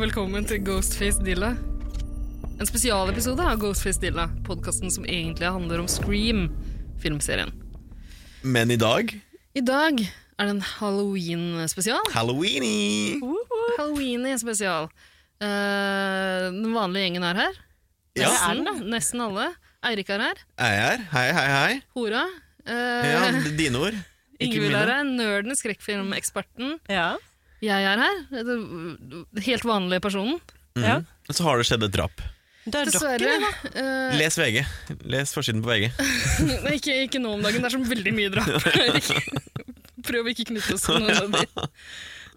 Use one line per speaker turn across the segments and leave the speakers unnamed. velkommen til Ghostface Dilla. En spesialepisode av Ghostface Dilla, podkasten som egentlig handler om Scream, filmserien.
Men i dag
I dag er det en halloween-spesial.
Halloweeny!
Halloweeny-spesial. Eh, den vanlige gjengen er her.
Ja.
Nesten, nesten alle. Eirik er her.
Er jeg her? Hei, hei, hei.
Hora. Uh,
Ja, d- dine ord. Ikke
Ingvild er
mine.
her. Nerden, skrekkfilmeksperten.
Ja.
Jeg er her. Den Helt vanlige personen.
Mhm.
ja.
Så har det skjedd et drap.
Det er dere.
Dessverre. eh,
Les VG. Les forsiden på VG.
Nei, ikke, ikke nå om dagen. Det er så veldig mye drap. Erik. Prøv å ikke knytte oss til noen av de.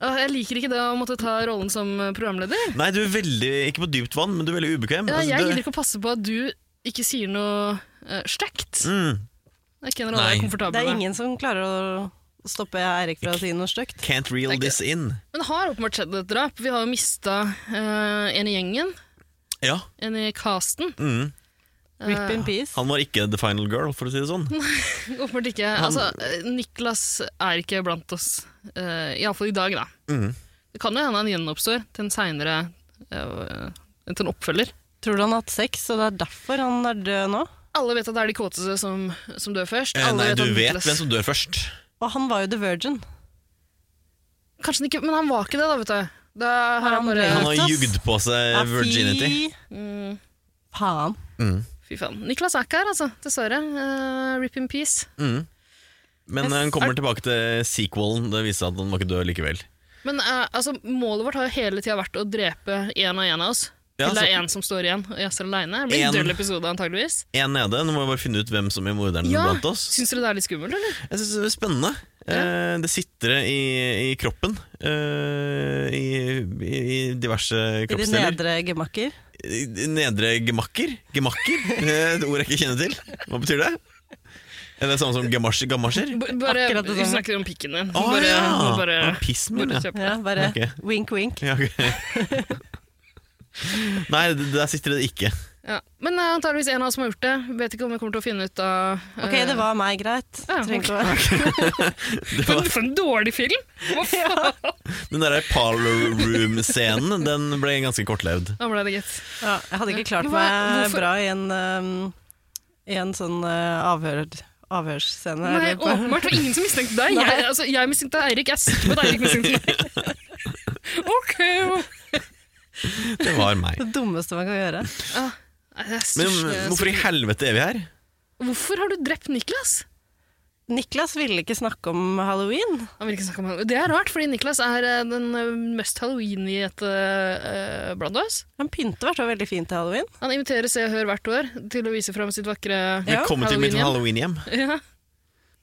Åh, Jeg liker ikke det å måtte ta rollen som eh, programleder.
Nei, du er veldig Ikke på dypt vann, men du er veldig ubekvem.
Ja,
Altså,
jeg
du-
gidder ikke å passe på at du ikke sier noe uh, stygt.
mm,
Det er ikke en rolle jeg er
Nei.
Det
komfortabel
er
med.
ingen som klarer å stoppe Eirik fra å si noe stygt.
Can't reel
Det er ikke-
this in.
Men det har åpenbart skjedd et drap. Vi har jo mista en i gjengen,
Ja.
en i casten.
Mm.
Eh,
Rip in peace.
Han var ikke the final girl, for å si det sånn.
åpenbart ikke. Altså, eh, Niklas er ikke blant oss, uh, iallfall i dag, da.
Mm.
Det kan jo hende han gjenoppstår til en seinere Til en oppfølger.
Tror du han har hatt sex, og det er derfor han er død nå?
Alle vet at det er de kåteste som, som dør først.
Eh,
Alle
Nei,
vet
du
at
vet
Niklas-
hvem som dør først.
Og han var jo the virgin.
Kanskje han ikke, men han var ikke det, da, vet du. Da har han
Han
bare
Han
ble-
har
Niklas.
jugd på
Ja,
seg
fy
Eh, virginity.
mm,
Faen.
Mm.
Fy faen. Niklas er ikke her, altså. Dessverre. Eh, rip in peace.
Mm. Men han kommer tilbake til sequelen. Det viser seg at han var ikke død likevel.
Men eh, altså, målet vårt har jo hele tida vært å drepe én og én av oss.
Ja,
Til det er
så
én som står igjen og jazzer aleine. Det blir en
En.
døll episode, antageligvis.
Én nede. Nå må vi bare finne ut hvem som er morderen
Ja,
blant oss.
Syns dere det er litt skummelt, eller?
Jeg synes det er spennende.
Ja.
Eh, det sitter i, i kroppen. eh, i, i, I diverse
I de
kroppsdeler.
nedre gemakker.
I de nedre gemakker? Gemakker? Eh, Et ord jeg ikke kjenner til. Hva betyr det? Er det samme som gamasjer? gamasjer?
B bare,
Akkurat det
vi
samme.
snakker om pikken din.
Å
bare,
ja!
bare,
Ah, Pissen min,
bare
ja.
kjapt.
Ja, bare
Ok.
wink, wink.
ja ok. Nei, d- der sitter det ikke.
Ja. Men eh, antageligvis en av oss som har gjort det. Vet ikke om vi kommer til å finne ut av
Ok,
eh,
det var meg, greit.
Ja,
Trenger ikke å
Det
For,
var,
for en dårlig film! Hva faen?
den derre parlor room-scenen Den ble ganske kortlevd.
Da ble det gitt.
ja, Jeg hadde ikke klart
Men hva-
meg
hvorfor-
bra i en, um, i en sånn uh, avhør, avhørsscene.
Nei,
eller på-
åpenbart var ingen som mistenkte deg.
Nei.
Jeg, altså, jeg mistenkte Eirik. Jeg er sikker på at Eirik mistenkte meg. ok.
Det var meg.
Det dummeste man kan gjøre.
Ah, jeg er
Men
største-
hvorfor i helvete er vi her?
Hvorfor har du drept Niklas?
Niklas ville ikke snakke om halloween.
Han vil ikke snakke om han. Det er rart, fordi Niklas er eh, den eh, mest halloween-gjete eh, blant oss.
Han pynter hvert år veldig fint til halloween.
Han inviterer Se og Hør hvert år til å vise fram sitt vakre
Ja,
Velkommen til mitt
Halloween-hjem.
halloween-hjem.
ja.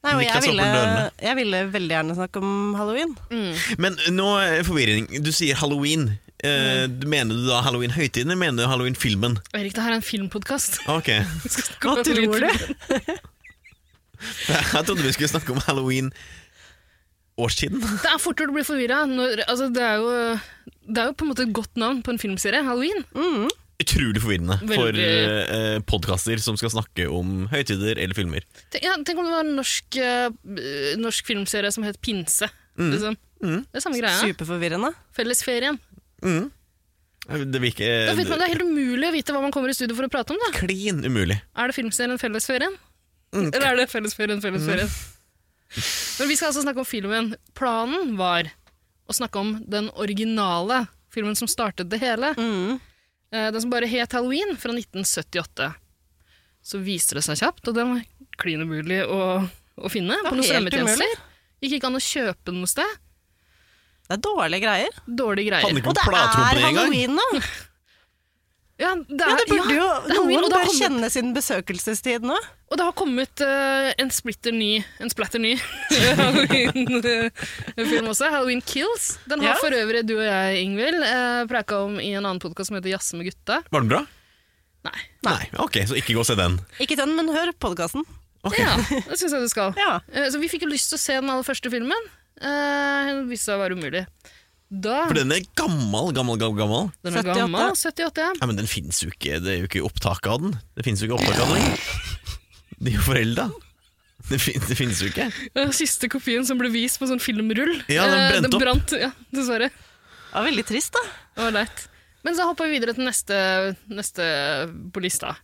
Nei, og jeg
Niklas
ville,
åpner dørene.
jeg ville veldig gjerne snakke om halloween.
mm.
Men nå er forvirring. Du sier halloween. Eh, du- Mener du da halloween-høytiden, eller mener du halloween-filmen?
Erik, det her er en filmpodkast.
Ok,
Vi skal snakke om
Hva tror
halloween.
du?
Jeg trodde vi skulle snakke om halloween-årstiden.
Det er fort gjort å bli forvirra. Altså, det, er jo- det er jo på en måte et godt navn på en filmserie. Halloween.
Mm.
Utrolig forvirrende for
Veldig.
eh, podkaster som skal snakke om høytider eller filmer.
Tenk, ja, tenk om det var en norsk, eh, b- norsk filmserie som het Pinse. Liksom.
Mm.
Det er samme greia.
Superforvirrende.
Fellesferien.
Mm. Det blir ikke
Da vet man,
eh,
det er helt umulig å vite hva man kommer i studio for å prate om. da.
Klin umulig.
Er det filmserien Fellesferien?
Mm.
Eller er det Fellesferien Fellesferien? Men vi skal altså snakke om filmen. Planen var å snakke om den originale filmen som startet det hele.
Mm.
Eh, Den som bare het Halloween, fra 1978. Så viste det seg kjapt, og den var klin umulig å, å finne
var
på noen
helt umulig.
strømmetjenester. Gikk ikke an å kjøpe den noe sted.
Det er dårlige greier.
Dårlige greier.
Hadde ikke
Og
noen
det er
platekompani engang.
halloween nå!
Ja, det er,
Ja, det
ja,
burde jo,
det er halloween,
noen
og det
bør
har kommet-
kjenne sin besøkelsestid nå.
Og det har kommet eh, en splitter ny, en splatter ny Halloween-film også. Halloween Kills. Den har
Ja.
for øvrig du og jeg, Ingvild, uh, preika om i en annen podkast som heter Jazze med gutta.
Var den bra?
Nei.
Nei. Ok, så ikke gå og se den.
Ikke den, men hør podkasten.
Ok.
Ja, det syns jeg du skal.
Ja.
Eh, så vi fikk jo lyst til å se den aller første filmen. Eh, den viste seg å være umulig. Da
For den er gammel, gammel, gammel. gammel.
Den er
78.
gammel. 78, ja.
Nei, men den finnes jo ikke. Det er jo ikke opptak av den. Det finnes jo ikke opptak av den lenger. De er jo forelda. Det, fin det finnes jo ikke.
Eh, Siste kopien som ble vist på sånn filmrull.
Ja, den
Eh,
brente opp.
brant, ja, dessverre.
Det var veldig trist, da.
Det var leit. Men så hopper vi videre til neste, neste på lista.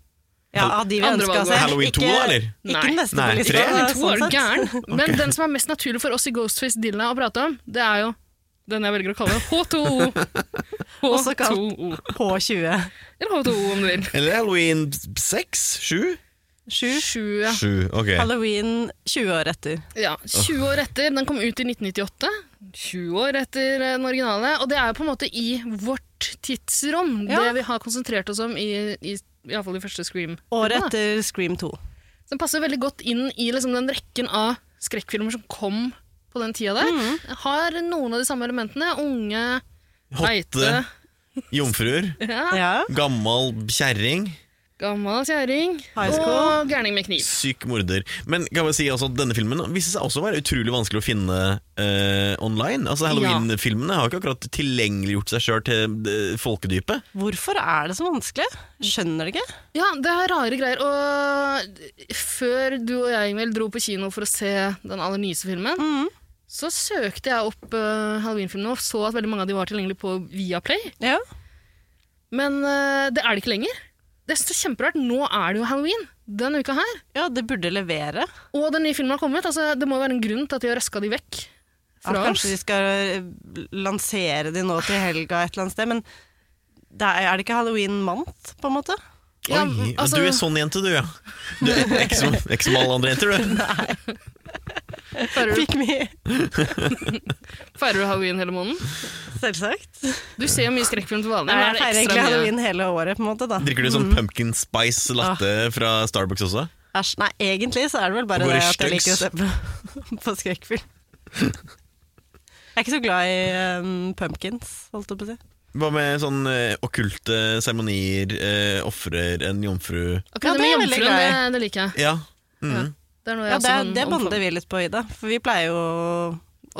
Ja, av de vi
Andre
ønska
valg.
oss.
Halloween
Ikke-
to, eller?
Ikke
Nei.
den neste
Nei,
på lista.
tre?
Halloween to er
sånn
du
sett.
gæren, men den som er mest naturlig for oss i Ghostface Dilla å prate om, det er jo den jeg velger å kalle H2O.
Også kalt-
H2O.
På 20.
Eller H2O, om du vil.
Eller halloween seks? Sju?
Sju.
Sju, ja.
Sju, ok.
Halloween 20 år etter.
ja. 20 år etter. Den kom ut i 1998. 20 år etter eh, den originale. Og det er jo på en måte i vårt tidsrom,
Ja.
det vi har konsentrert oss om i, i Iallfall de første Scream.
Året etter Scream 2.
Den passer veldig godt inn i liksom, den rekken av skrekkfilmer som kom på den tida der. Har noen av de samme elementene. Unge,
Hotte
heite,
jomfruer.
ja,
Ja.
Gammal kjerring.
gammal kjerring
High school.
og gærning med kniv.
Syk morder. Men kan vi si altså, at denne filmen viste seg også å være utrolig vanskelig å finne eh, online. Altså Halloween-filmene har ikke akkurat tilgjengeliggjort seg sjøl til eh, folkedypet.
Hvorfor er det så vanskelig? Skjønner det ikke.
Ja, det er rare greier. Og før du og jeg, Ingvild, dro på kino for å se den aller nyeste filmen,
Mm.
så søkte jeg opp eh, Halloween-filmene og så at veldig mange av de var tilgjengelige på Viaplay.
Ja.
Men eh, det er det ikke lenger. Det er så kjemperart. Nå er det jo halloween denne uka her.
ja, det burde levere.
Og den nye filmen har kommet. Altså, det må jo være en grunn til at de har røska de vekk
At
fra oss.
kanskje de skal eh, lansere de nå til helga et eller annet sted, men det er, er det ikke halloween-mant, på en måte?
Ja,
Oi,
altså-
Du er sånn jente, du, ja. Du er ikke som, ikke som alle andre jenter, du.
Feirer du,
Fikk vi
feirer du halloween hele måneden?
Selvsagt.
Du ser jo mye skrekkfilm til vanlig.
Nei,
men er
jeg feirer
det
egentlig
ekstra mye?
halloween hele året, på en måte, da.
Drikker du
Mm.
sånn pumpkin spice
Ah.
latte fra Starbucks også?
Æsj. Nei, egentlig så er det vel bare
Går i
det at jeg liker å
styggs.
se på, på skrekkfilm. Jeg er ikke så glad i eh, pumpkins, holdt jeg på å si.
Hva med sånn eh, okkulte seremonier, eh, ofrer en jomfru
Ok,
Ja,
det
det
med
er veldig
jomfruen, det, det liker jeg.
Ja. mhm.
Det er noe jeg
Ja, det,
også kan
det
omfavne.
bonder vi litt på, Ida, for vi pleier jo å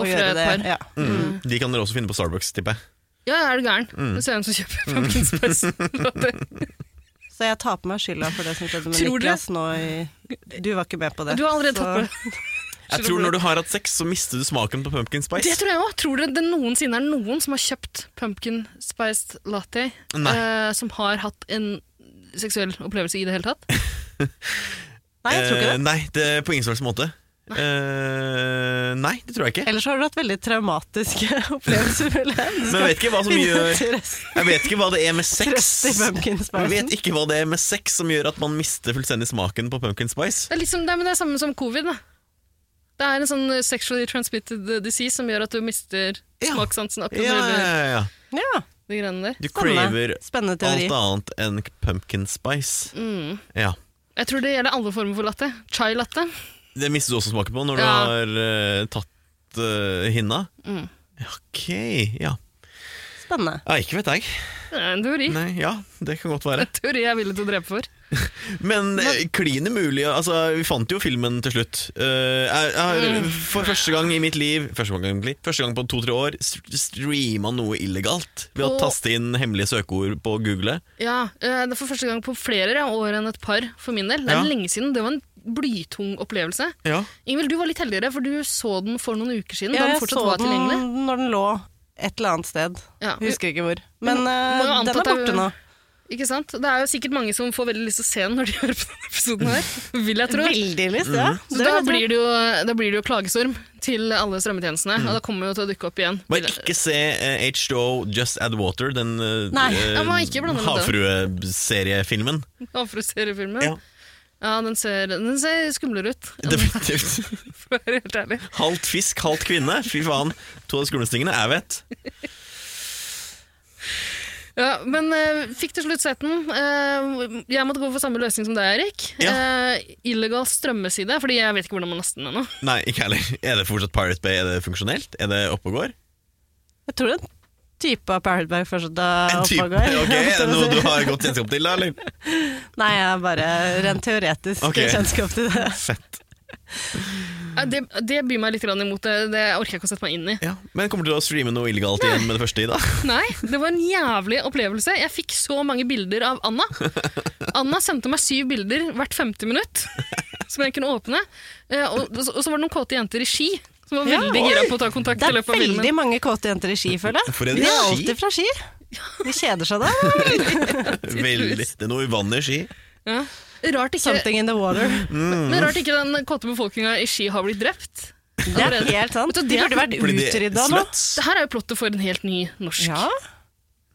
Ofre
gjøre
et
det.
par.
Ja. Mm.
Mhm. De kan dere også finne på Starbucks, tipper jeg.
Ja, jeg er du gæren. Du ser hvem som kjøper pumpkin spice.
Så jeg tar på meg skylda for det som skjedde med
Tror dere-
Niklas nå i Du var ikke med på det.
Du har allerede
så-
tatt på det.
Jeg tror når du har hatt sex, så mister du smaken på pumpkin spice.
Det tror jeg òg. Tror dere det noensinne er noen som har kjøpt pumpkin spiced latte
Nei.
eh, som har hatt en seksuell opplevelse i det hele tatt?
Nei, jeg tror ikke
Eh,
det.
nei, det er på ingen slags måte. Eh, nei, det tror jeg ikke.
Ellers har du hatt veldig traumatiske opplevelser, føler jeg. Du
Men
skal
jeg vet ikke hva som
finne
gjør
trøst-
Jeg vet ikke hva det er med sex
Trøst i
Jeg
pumpkin
vet
spicen.
ikke hva det er med sex som gjør at man mister fullstendig smaken på pumpkin spice.
Det er, liksom, det er, men det er samme som covid. da. Det er en sånn eh, sexually transmitted eh, disease som gjør at du mister
Ja.
smakssansen sånn akkurat
Ja,
når
ja,
det
ja, ja.
Ja,
de greiene der.
Du craver
spennende. spennende teori.
alt annet enn pumpkin spice.
Mm.
Ja.
Jeg tror det gjelder alle former for latte. Chai latte.
Det mister du også smaken på når du
Ja.
har eh, tatt eh, hinna.
Mm.
Ok, ja.
Spennende.
ja. Ikke vet jeg.
Det er en teori.
Nei, ja, det kan godt være.
En teori jeg er villig til å drepe for.
Men eh, klin umulig altså, Vi fant jo filmen til slutt Eh, jeg,
Mm.
jeg, har For første gang i mitt liv Første gang, egentlig, første gang på to-tre år st- Streama noe illegalt Ved å
Og-
taste inn hemmelige søkeord på Google
Ja, eh, det er for første gang på flere ja, år enn et par, for min del. Det er
Ja.
lenge siden. Det var en blytung opplevelse.
Ja,
Ingvild, du var litt heldigere, for du så den for noen uker siden.
Ja,
da den
jeg
fortsatt
så
var tilgjengelig.
den når den lå et eller annet sted.
Ja,
Husker ikke hvor. Men eh,
må jo anta
den er
at det er-
borte nå.
ikke sant? Det er jo sikkert mange som får veldig lyst til å se den når de hører på denne episoden her. Vil jeg tro.
Veldig lyst,
Mhm.
ja.
Så
Det
da
vil jeg
blir, det jo, da blir det jo klagestorm til alle strømmetjenestene, og da kommer det jo til å dukke opp igjen.
Bare ikke se eh, H2O Just Add Water Den eh,
Nei,
eh,
ja, man ikke blander med
havfrueseriefilmen
Havfrueseriefilmen.
Ja.
Ja. ja, den ser, den ser skumlere ut,
Definitivt
for å være helt ærlig.
Halvt fisk, halvt kvinne Fy faen, to av de skumleste tingene jeg vet
Ja, men eh, fikk til slutt sett den. Eh, jeg måtte gå for samme løsning som deg, Erik. Eh, illegal strømmeside, fordi jeg vet ikke hvordan man laster den ennå.
Nei, ikke heller Er det fortsatt Pirate Bay, er det funksjonelt? Er det oppe og går?
tro. Jeg tror en type av Pirate Bay fortsatt er
En type,
oppegående.
ok, er det noe
holdt
du
jeg på å si.
har godt kjennskap til da, eller?
Nei, jeg har bare rent teoretisk
Ok.
kjennskap til det.
Fett.
Eh, Det, det byr meg litt grann imot. eh, Det, det orker jeg ikke å sette meg inn i.
Ja. Men kommer du til å streame noe illegalt igjen med det første i dag?
Nei, det var en jævlig opplevelse. Jeg fikk så mange bilder av Anna. Anna sendte meg syv bilder hvert femte minutt som jeg kunne åpne. Eh, og, og så var det noen kåte jenter i Ski som var
Ja,
veldig
oi.
gira på å ta kontakt
Det
i
er
løpet av filmen.
veldig mange kåte jenter i Ski, føler jeg.
For en
De er
ski.
alltid fra Ski. De kjeder seg da.
Veldig. Det er noe vann i ski.
Ja. Rart ikke,
Something in the water.
Mhm.
men rart ikke den kåte befolkninga i Ski har blitt drept.
Det er helt sant.
Vet du,
De
det er-
burde vært
Blir de
utrydda nå.
sluts?
Det her er jo plottet for en helt ny norsk
Ja,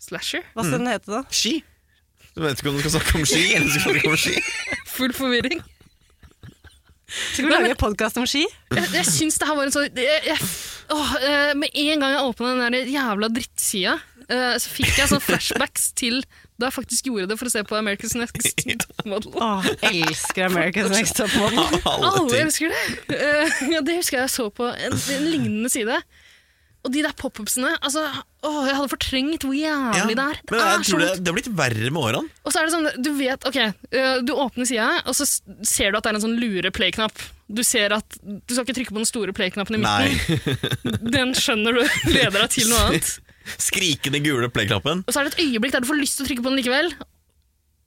slasher.
Mm.
Hva skal den hete da?
Ski. Du vet ikke om du skal snakke om ski, eller skal snakke om ski.
Full forvirring.
Skal vi
Nei, men-
lage podkast om ski?
Jeg, jeg syns det her var en sånn jeg, jeg, åh, eh, Med en gang jeg åpna den der jævla drittsida, eh, så fikk jeg sånn flashbacks til da jeg faktisk gjorde det for å se på America's Next Top Model.
Åh, elsker America's Next Top Model.
Alle
Alle
ting.
husker det! Eh, ja, det husker jeg jeg så på en, en lignende side. Og de der pop-upsene altså, åh, Jeg hadde fortrengt hvor
Ja,
jævlig det er.
Men
Det
jeg
er så
tror det,
vondt.
det har blitt verre med årene.
Og så er det sånn, du vet, ok, eh, du åpner sida, og så s- ser du at det er en sånn lure play-knapp. Du ser at du skal ikke trykke på den store play-knappen i midten.
Nei.
Den skjønner du leder deg til noe annet.
Skrikende gule play-knappen.
Og så er det et øyeblikk der du får lyst til å trykke på den likevel,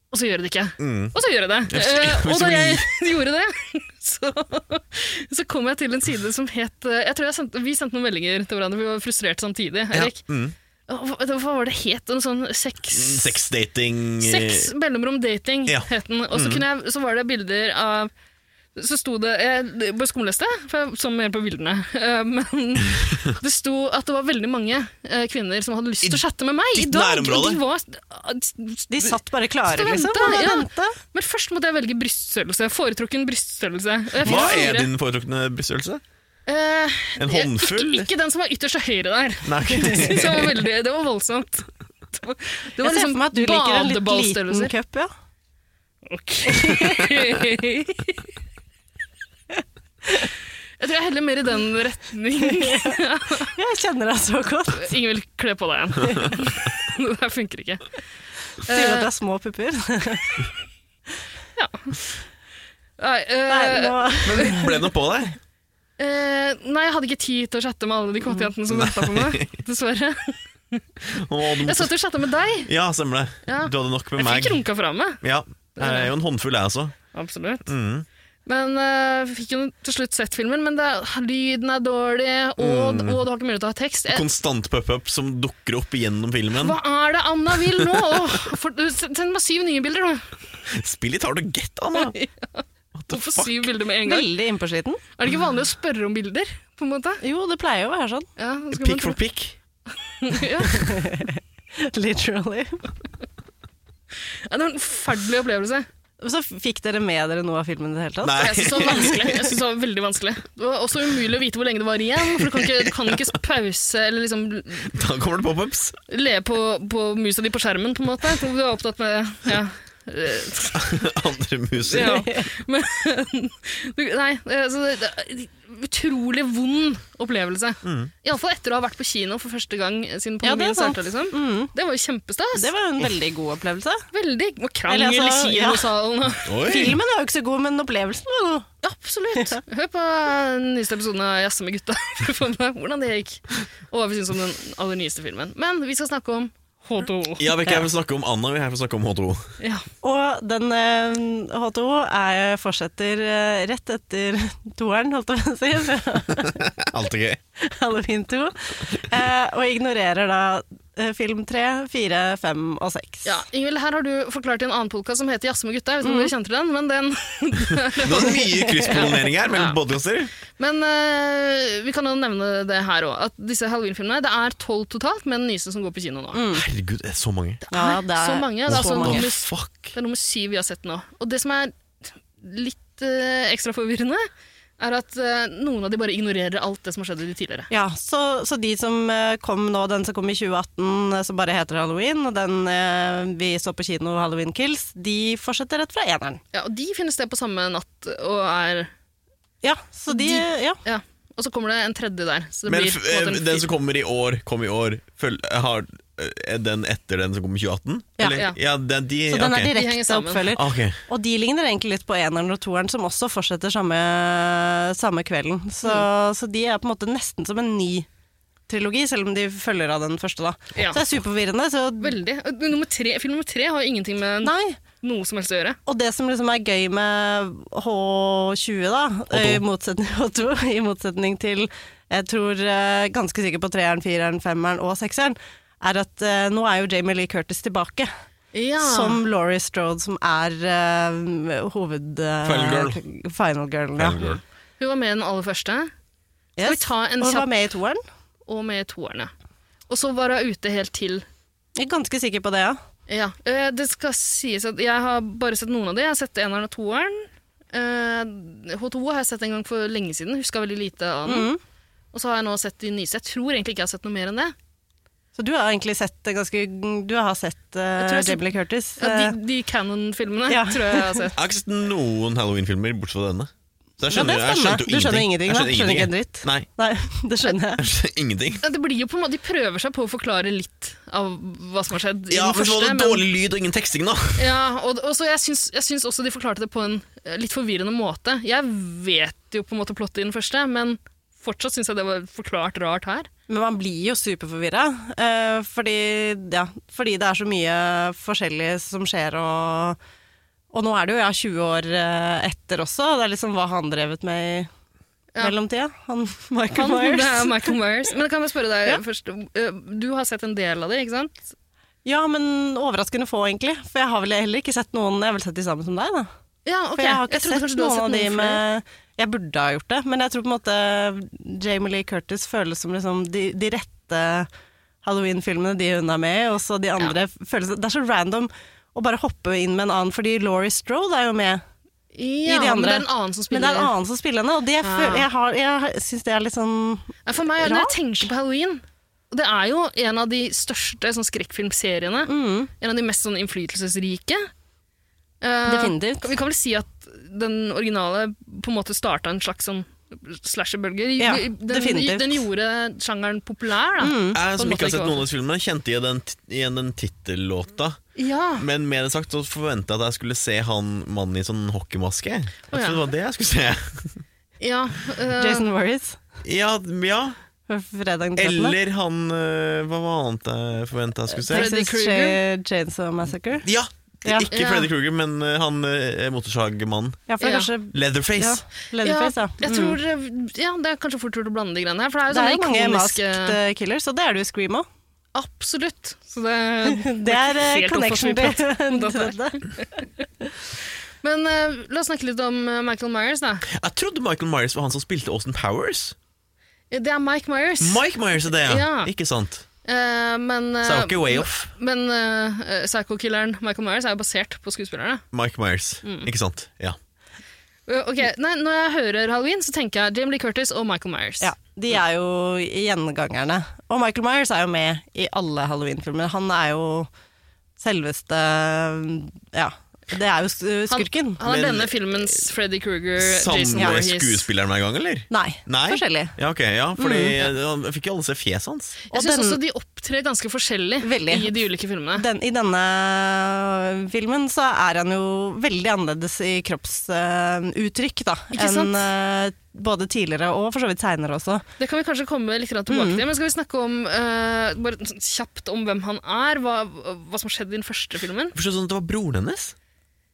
og så gjør det ikke.
Mm.
Og så gjør det det.
Jeg
Eh,
forstår-
og da jeg gjorde det, så, så kom jeg til en side som het eh, Jeg tror jeg sendte, Vi sendte noen meldinger til hverandre, vi var frustrerte samtidig. Erik.
Mm.
Og Hva, hva var det het? Noe sånn sex...
Sexdating eh,
Sex mellomrom dating
Ja. Mm.
het den. Og så, kunne jeg, så var det bilder av så sto det Jeg bare skumleste, for jeg så mer på bildene. Eh, Men det sto at det var veldig mange eh, kvinner som hadde lyst til å chatte med meg i
ditt
dag.
nærområde?
Og de var,
De satt bare
Stå
klare,
og
liksom.
vente,
Bare
ja.
vente.
men først måtte jeg velge bryststørrelse. Jeg Foretrukken bryststørrelse. Og jeg fikk
Hva
fire.
er din foretrukne bryststørrelse?
Eh,
En
jeg-
håndfull?
Ikke, ikke den som var ytterst til høyre der.
Nei, ok.
Det var, veldig, det var voldsomt. Det var, det var liksom
Jeg ser for meg at du liker en litt liten
badeballstørrelser.
cup, ja.
Ok. Jeg tror jeg heller mer i den retning.
Jeg kjenner deg så godt.
Ingen vil kle på deg igjen. Det her funker ikke.
Sier du at det er små pupper?
Eh, Nei, eh,
Nei, nå
Men ble det noe på deg?
eh, nei, jeg hadde ikke tid til å chatte med alle de kåte jentene som venta på meg. Dessverre.
Å, du
Jeg
måtte...
satt og chatta med deg.
Ja, stemmer det.
Ja.
Du hadde nok med
Jeg
meg.
fikk runka fra meg.
Ja, jeg er jo en håndfull, jeg også.
Absolutt.
Mm.
Men eh, vi fikk jo til slutt sett filmen, men det, er- lyden er dårlig, og,
Mm.
og du har ikke mulighet til å ha tekst. Jeg,
Konstant pop-up som dukker opp gjennom filmen.
hva er det Anna vil nå? Åh, for, send meg syv nye bilder, nå.
Spill litt hard og get, Anna! What the
Hvorfor
fuck?
syv bilder med en gang?
Veldig innpåsliten.
Er det ikke vanlig å spørre om bilder? på en måte?
Jo, det pleier jo å være sånn.
Ja, så skal man
Pick
tro-
for pick.
ja.
Literally.
Ja, Det var en forferdelig opplevelse.
Så fikk dere med dere noe av filmen i det hele tatt?
Nei.
Jeg synes det var vanskelig. Jeg synes det var veldig vanskelig. Det var også umulig å vite hvor lenge det var igjen, for du kan ikke, du kan ikke pause eller liksom
Da kommer det pop-ups.
le på, på musa di på skjermen, på en måte. For du er opptatt med ja. eh,
Andre muser.
Ja. Men, du, nei, eh, så det, det er en utrolig vond opplevelse.
Mm.
Iallfall etter å ha vært på kino for første gang siden
Ja, det
pandemien
er sant.
starta. Liksom.
Mm.
Det var jo kjempestas.
Det var jo en veldig god opplevelse.
Veldig og krangel
Eller, altså,
i
ja.
kinosalen. og-
Oi!
Filmen var jo ikke så god, men opplevelsen var god.
Absolutt. Hør på den nyeste episoden av Jazze med gutta for å få med hvordan det gikk. Og hva vi syns om den aller nyeste filmen. Men vi skal snakke om H2O.
Ja, vi er ikke her for å snakke om Anna, vi er her for å snakke om H2O.
Ja.
Og den eh, H2O er, fortsetter eh, rett etter toeren, holdt jeg på å si, fra
Alltid gøy.
Halloween 2, eh, og ignorerer da eh, film 3, 4, 5 og 6.
Ja, Ingvild, her har du forklart i en annen podkast som heter Jazze med gutta. Jeg vet ikke om
Mhm.
dere kjente til den, men den
Det var mye krysspollinering her mellom
Ja.
podkaster.
Men eh, vi kan jo nevne det her òg, at disse Halloween-filmene Det er tolv totalt, men den nyeste som går på kino nå.
Herregud, det er så mange.
Mm. Ja, det
så mange, det Mm. er
så
sånn-
What
mange.
mange.
the fuck?
Det er nummer syv vi har sett nå. Og det som er litt eh, ekstra forvirrende, er at eh, noen av de bare ignorerer alt det som har skjedd i de tidligere.
Ja, så, så de som eh, kom nå, den som kom i 2018 eh, som bare heter Halloween, og den eh, vi så på kino, Halloween Kills, de fortsetter rett fra eneren.
Ja, Og de finner sted på samme natt og er
Ja, så de,
De-
ja.
Ja. Og så kommer det en tredje der. Så det
Men
blir
f-
på en måte
eh,
en
den
fir-
som kommer i år, kom i år. Føl har, er den etter den som kom i 2018?
Ja.
Eller?
Ja.
ja det, er de,
Så
ok.
den er
De henger
direkte
sammen.
oppfølger.
Ok.
Og de ligner egentlig litt på eneren og toeren, som også fortsetter samme, samme kvelden. Så,
Mm.
så de er på en måte nesten som en ny trilogi, selv om de følger av den første, da.
Ja.
Så det er superforvirrende. Så
Veldig. Og Nummer tre, film nummer tre har jo ingenting med
Nei.
noe som helst å gjøre.
Og det som liksom er gøy med H20, da,
H2.
i motsetning, eh, H2, i motsetning til jeg tror eh, ganske sikkert på treeren, fireren, femmeren og sekseren, er at eh, nå er jo Jamie Lee Curtis tilbake.
Ja.
Som Laurie Strode, som er eh, hoved... eh,
Final girl.
Final girl, ja.
Final Girl.
Hun var med i den aller første, Skal vi
Yes.
ta en
Og hun
kjapp-
var med i toeren.
og med i toeren, ja. Og så var hun ute helt til.
Jeg er ganske sikker på det, ja.
Ja. eh, Det skal sies at jeg har bare sett noen av de. Jeg har sett eneren og toeren. Eh, H2 har jeg sett en gang for lenge siden, huska veldig lite av den.
Mm.
Og så har jeg nå sett de nyeste. Jeg tror egentlig ikke jeg har sett noe mer enn det.
Så du har egentlig sett det ganske Du har sett
tror
uh,
jeg så-
Jamie Lee Curtis.
Ja,
eh,
de de Canon-filmene
Ja.
tror jeg jeg har sett.
Jeg har ikke sett noen Halloween-filmer bortsett fra denne. Så jeg
Ja, det
skjønner, jeg
stemmer.
skjønte jo
Du skjønner ingenting,
Jeg
da. Skjønner ikke
jeg.
en dritt.
Nei,
Nei, det skjønner jeg.
jeg skjønner ingenting.
Ja, det blir jo på en måte, De prøver seg på å forklare litt av hva som har skjedd. i
Ja,
den
for så var
første,
det
men-
dårlig lyd og ingen teksting, da.
Ja, og, og så jeg, syns, jeg syns også de forklarte det på en eh, litt forvirrende måte. Jeg vet jo på en måte plottet i den første, men fortsatt syns jeg det var forklart rart her.
Men man blir jo superforvirra, eh, fordi, ja, fordi det er så mye forskjellig som skjer, og, og nå er det jo ja, 20 år eh, etter også, og det er liksom hva han drevet med i
Ja.
mellomtida. Han Michael
Han, det er
Myers.
Michael Myers. Men jeg kan bare spørre deg
Ja.
først. eh, Du har sett en del av det, ikke sant?
Ja, men overraskende få, egentlig. For jeg har vel heller ikke sett noen Jeg har vel sett de sammen som deg, da.
Ja,
For jeg har ikke
trodde
sett
kanskje du
noen
hadde
av de
noen flere.
med Jeg burde ha gjort det, men jeg tror på en måte Jamie Lee Curtis føles som liksom de, de rette Halloween-filmene de hun er med i, og så de andre føles Det er så random å bare hoppe inn med en annen, fordi Laurie Strode er jo med.
ja,
i de
Men
andre.
det er en annen som
Men det
spiller.
er en annen som spiller henne, og det
Ah.
føl- jeg, har- jeg syns det er litt sånn
Nei, For meg, når
Rart.
jeg tenker på halloween og Det er jo en av de største sånn, skrekkfilmseriene.
hmm.
En av de mest sånn, innflytelsesrike. Eh,
Definitivt.
Vi kan vel si at den originale på en måte starta en slags sånn slasherbølge.
Ja,
den,
definitivt. Mm.
den gjorde sjangeren populær, da.
Jeg som
Mm, måte
ikke har
ikke
sett
var.
noen av disse filmene, kjente igjen den, ti- igjen den tittellåta.
Ja.
Men med det sagt så forventa jeg at jeg skulle se han mannen i sånn hockeymaske. Jeg
Å, ja.
trodde det var det jeg skulle se.
ja eh,
Jason Worries.
Ja, ja.
Fredag den 13.
Eller han øh, Hva var annet jeg forventa jeg skulle se?
Freddy
Texas Ch- Chainsaw Massacre.
Ja!
Ja.
Ikke
Ja.
Freddy Kruger, men øh, han øh, motorsagmannen.
Ja, for det
Ja.
er kanskje ja,
Leatherface.
Leatherface, ja.
Jeg
Mm.
tror, ja, det er kanskje fort gjort å blande de greiene her. For det er
det er jo
jo sånne
mange
ikoniske
masked eh, killers, og det er det jo i Scream òg.
Absolutt. Så det,
Det er eh,
Helt
connection
oppfattet.
til dette.
Men eh, la oss snakke litt om eh, Michael Myers, da.
Jeg trodde Michael Myers var han som spilte Austin Powers.
Det er Mike Myers.
Mike Myers er det, ja!
Ja.
Ikke sant?
Eh, men eh,
Så jeg var ikke way off.
men eh, psycho-killeren Michael Myers er jo basert på skuespillerne.
Mike Myers.
Mm.
Ikke sant? Ja.
Eh, ok, nei, Når jeg hører halloween, så tenker jeg Jamie Lee Curtis og Michael Myers.
Ja, de er jo gjengangerne. Og Michael Myers er jo med i alle Halloween-filmer. Han er jo selveste Ja, det er jo s-
Han,
skurken.
han er
Men- eh,
denne filmens Freddy Kruger, Jason
Samme
Voorhees.
skuespilleren hver gang, eller?
Nei,
Nei?
forskjellig.
Ja, ok, ja, fordi
Mm.
eh, jeg fikk jo alle se fjeset hans.
Jeg
Og
syns
den-
også de opptrer ganske forskjellig
Veldig.
i de ulike filmene.
Den, I denne filmen så er han jo veldig annerledes i kroppsuttrykk, da.
Ikke sant?
Enn eh, både tidligere og for så vidt seinere også.
Det kan vi kanskje komme litt grann tilbake
Mm.
til, men skal vi snakke om eh, bare sånn kjapt om hvem han er? Hva, hva som skjedde i den første filmen?
Forstod sånn at det var broren hennes?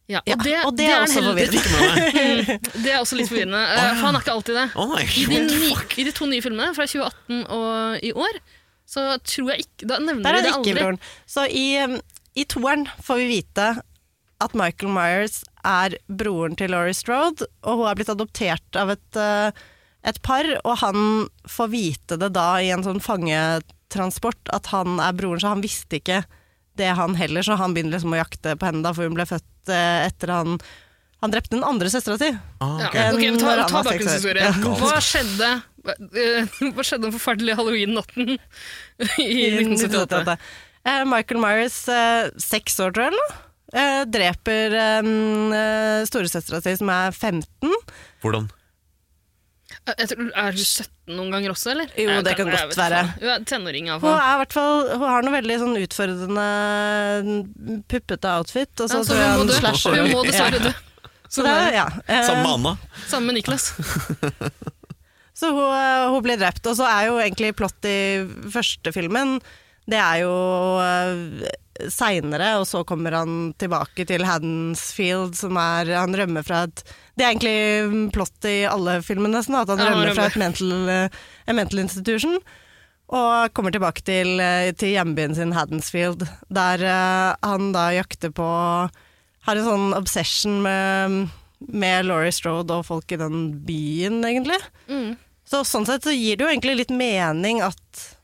Ja,
Ja, og det er
en
også
heldig-
forvirrende.
Ikke med meg.
Det er også litt forvirrende, eh, for han er ikke alltid det.
Å nei,
I de,
what the
ny,
fuck?
I de to nye filmene fra 2018 og i år, så tror jeg ikke Da nevner
Der
de
er
det
det ikke
aldri.
broren. Så i, um, i toeren får vi vite at Michael Myers er broren til Laurie Strode, og hun er blitt adoptert av et, eh, et par, og han får vite det da i en sånn fangetransport at han er broren, så han visste ikke det han heller, så han begynner liksom å jakte på henne da, for hun ble født eh, etter han Han drepte den andre søstera si.
Ah,
Ja,
ok.
ok, vi tar,
Når han
ta
var seks år.
bakgrunnshistorie.
Ja.
Hva skjedde eh, Hva skjedde den forferdelige halloween-natten i
I
1978?
1978. Eh, Michael Myers, eh, seks år tror jeg, eller? noe, eh, dreper eh, storesøstera si, som er 15.
Hvordan?
Jeg tror, er hun 17 noen ganger også, eller?
Jo,
Jeg
det kan
jeg vet
godt
ikke.
være.
Hun er tenåring,
Hun,
iallfall.
er i hvert fall, hun har noe veldig sånn utfordrende, n- puppete outfit. Og så,
Ja, så
tror jeg
hun må
han
dø.
slasher.
Hun må dessverre dø.
Så, det, er- ja. eh,
Samme med Anna.
Sammen med Niklas.
så hun, eh, hun blir drept. Og så er jo egentlig plott i første filmen Det er jo eh, seinere, og så kommer han tilbake til Haddensfield, som er Han rømmer fra et Det er egentlig plott i alle filmene, nesten, at han
Ja, han
rømmer fra
rømmer.
et mental, eh, en mental institution. Og kommer tilbake til, eh, til hjembyen sin, Haddensfield, der eh, han da jakter på Har en sånn obsession med, med Laurie Strode og folk i den byen, egentlig.
Mm.
Så sånn sett så gir det jo egentlig litt mening at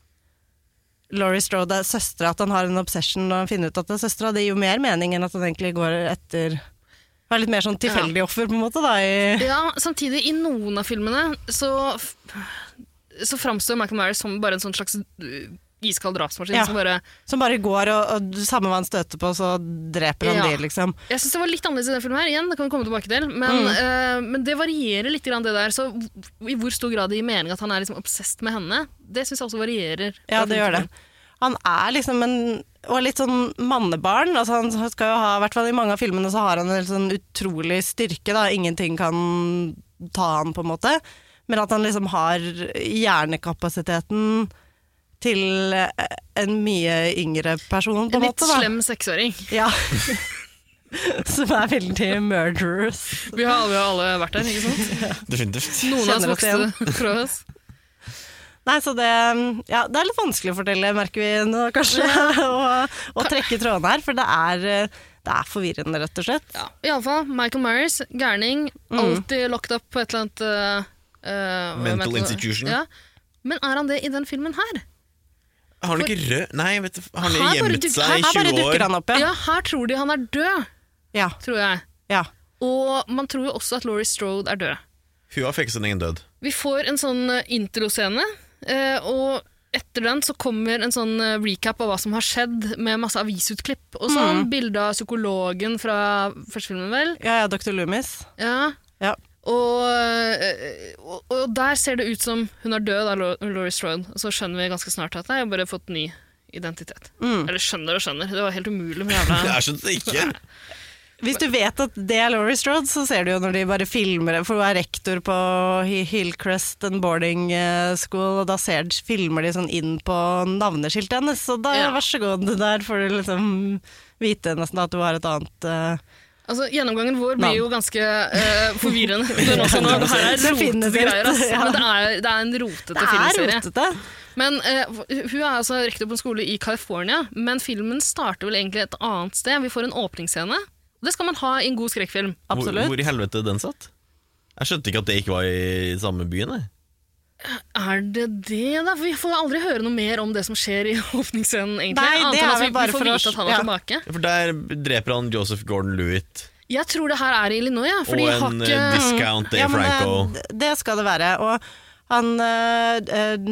Laurie Strode er søstera, at han har en obsession og han finner ut at det er søstera. Det gir jo mer mening enn at han egentlig går etter Er litt mer sånn tilfeldig offer, på en måte, da. I,
Ja, samtidig, i noen av filmene så, så framstår Michael Myers som bare en sånn slags øh, iskald drapsmaskin
Ja.
som bare
som bare går og, og samme hva han støter på, så dreper han
Ja.
de, liksom. Mm.
Jeg syns det var litt annerledes i den filmen her, igjen, det kan vi komme tilbake til. Men, eh, men det varierer litt, grann det der. Så hvor- i hvor stor grad det gir mening at han er liksom obsessed med henne, det syns jeg også varierer.
Ja, det gjør det. Han er liksom en og litt sånn mannebarn. altså han skal jo ha, i hvert fall I mange av filmene så har han en sånn utrolig styrke. da, Ingenting kan ta han på en måte. Men at han liksom har hjernekapasiteten til eh, en mye yngre person, på
En
en
litt
måte. da.
slem seksåring.
Ja. Som er veldig murderous.
Vi har, vi har alle vært der, ikke sant?
Definitivt.
Noen av oss
Kjenner oss igjen.
vokste fra oss.
Nei, så det, ja, det er litt vanskelig å fortelle, merker vi nå kanskje, å- å trekke trådene her. For det er, det er forvirrende, rett og slett.
Ja. Iallfall Michael Myers, gærning, alltid locked up på et eller annet eh, eh,
Mental
mental-
institution.
Ja. Men er han det i den filmen her?
Har han ikke rød Nei, vet du,
Her
har han
bare
gjemt
dukker-
seg i
Her bare
20
dukker
år?
han opp,
Ja.
ja.
her tror de han er død,
ja.
tror jeg.
ja.
Og man tror jo også at Laurie Strode er død.
Hun har fikset sin egen død.
Vi får en sånn eh, introscene, eh, og etter den så kommer en sånn eh, recap av hva som har skjedd, med masse avisutklipp og sånn. Bilde av psykologen fra første filmen, vel.
ja, ja Dr. Loomis.
Ja.
Ja.
Og, eh, og, og der ser det ut som hun er død av Lau- Laurie Strode. Og så skjønner vi ganske snart at nei, jeg har bare fått ny identitet.
Mm.
Eller skjønner og skjønner. Det var helt umulig med jævla
Jeg skjønte det ikke.
Hvis du vet at det er Laurie Strode, så ser du jo når de bare filmer det, for hun er rektor på Hi- Hillcrest and boarding eh, school, og da ser, filmer de sånn inn på navneskiltet hennes, så da
Ja.
vær så god, der får du liksom vite nesten at du har et annet eh,
Altså, Gjennomgangen vår
Navn.
blir jo ganske eh, forvirrende. Den også nå. Det her er
Definitivt,
rotete greier. ass.
ja.
Men det er, det er en rotete
Det er
filmserie.
rotete.
Men eh, Hun er altså rektor på en skole i California, men filmen starter vel egentlig et annet sted. Vi får en åpningsscene. Det skal man ha i en god skrekkfilm.
Hvor,
Absolutt.
hvor i helvete den satt? Jeg skjønte ikke at det ikke var i samme byen. Jeg.
Er det det, da? For Vi får aldri høre noe mer om det som skjer i åpningsscenen. egentlig.
Nei,
Annet
det
enn
er
at
vel
vi-
bare
vi får
for å-
vite at han er
ja.
tilbake.
For der dreper han Joseph Gordon-Lewitt
Jeg tror det her er i Illinois, ja, for
og
de har
en eh,
ikke
discount Dave
Ja, men,
Franco.
eh, d- Det skal det være. Og han eh, eh,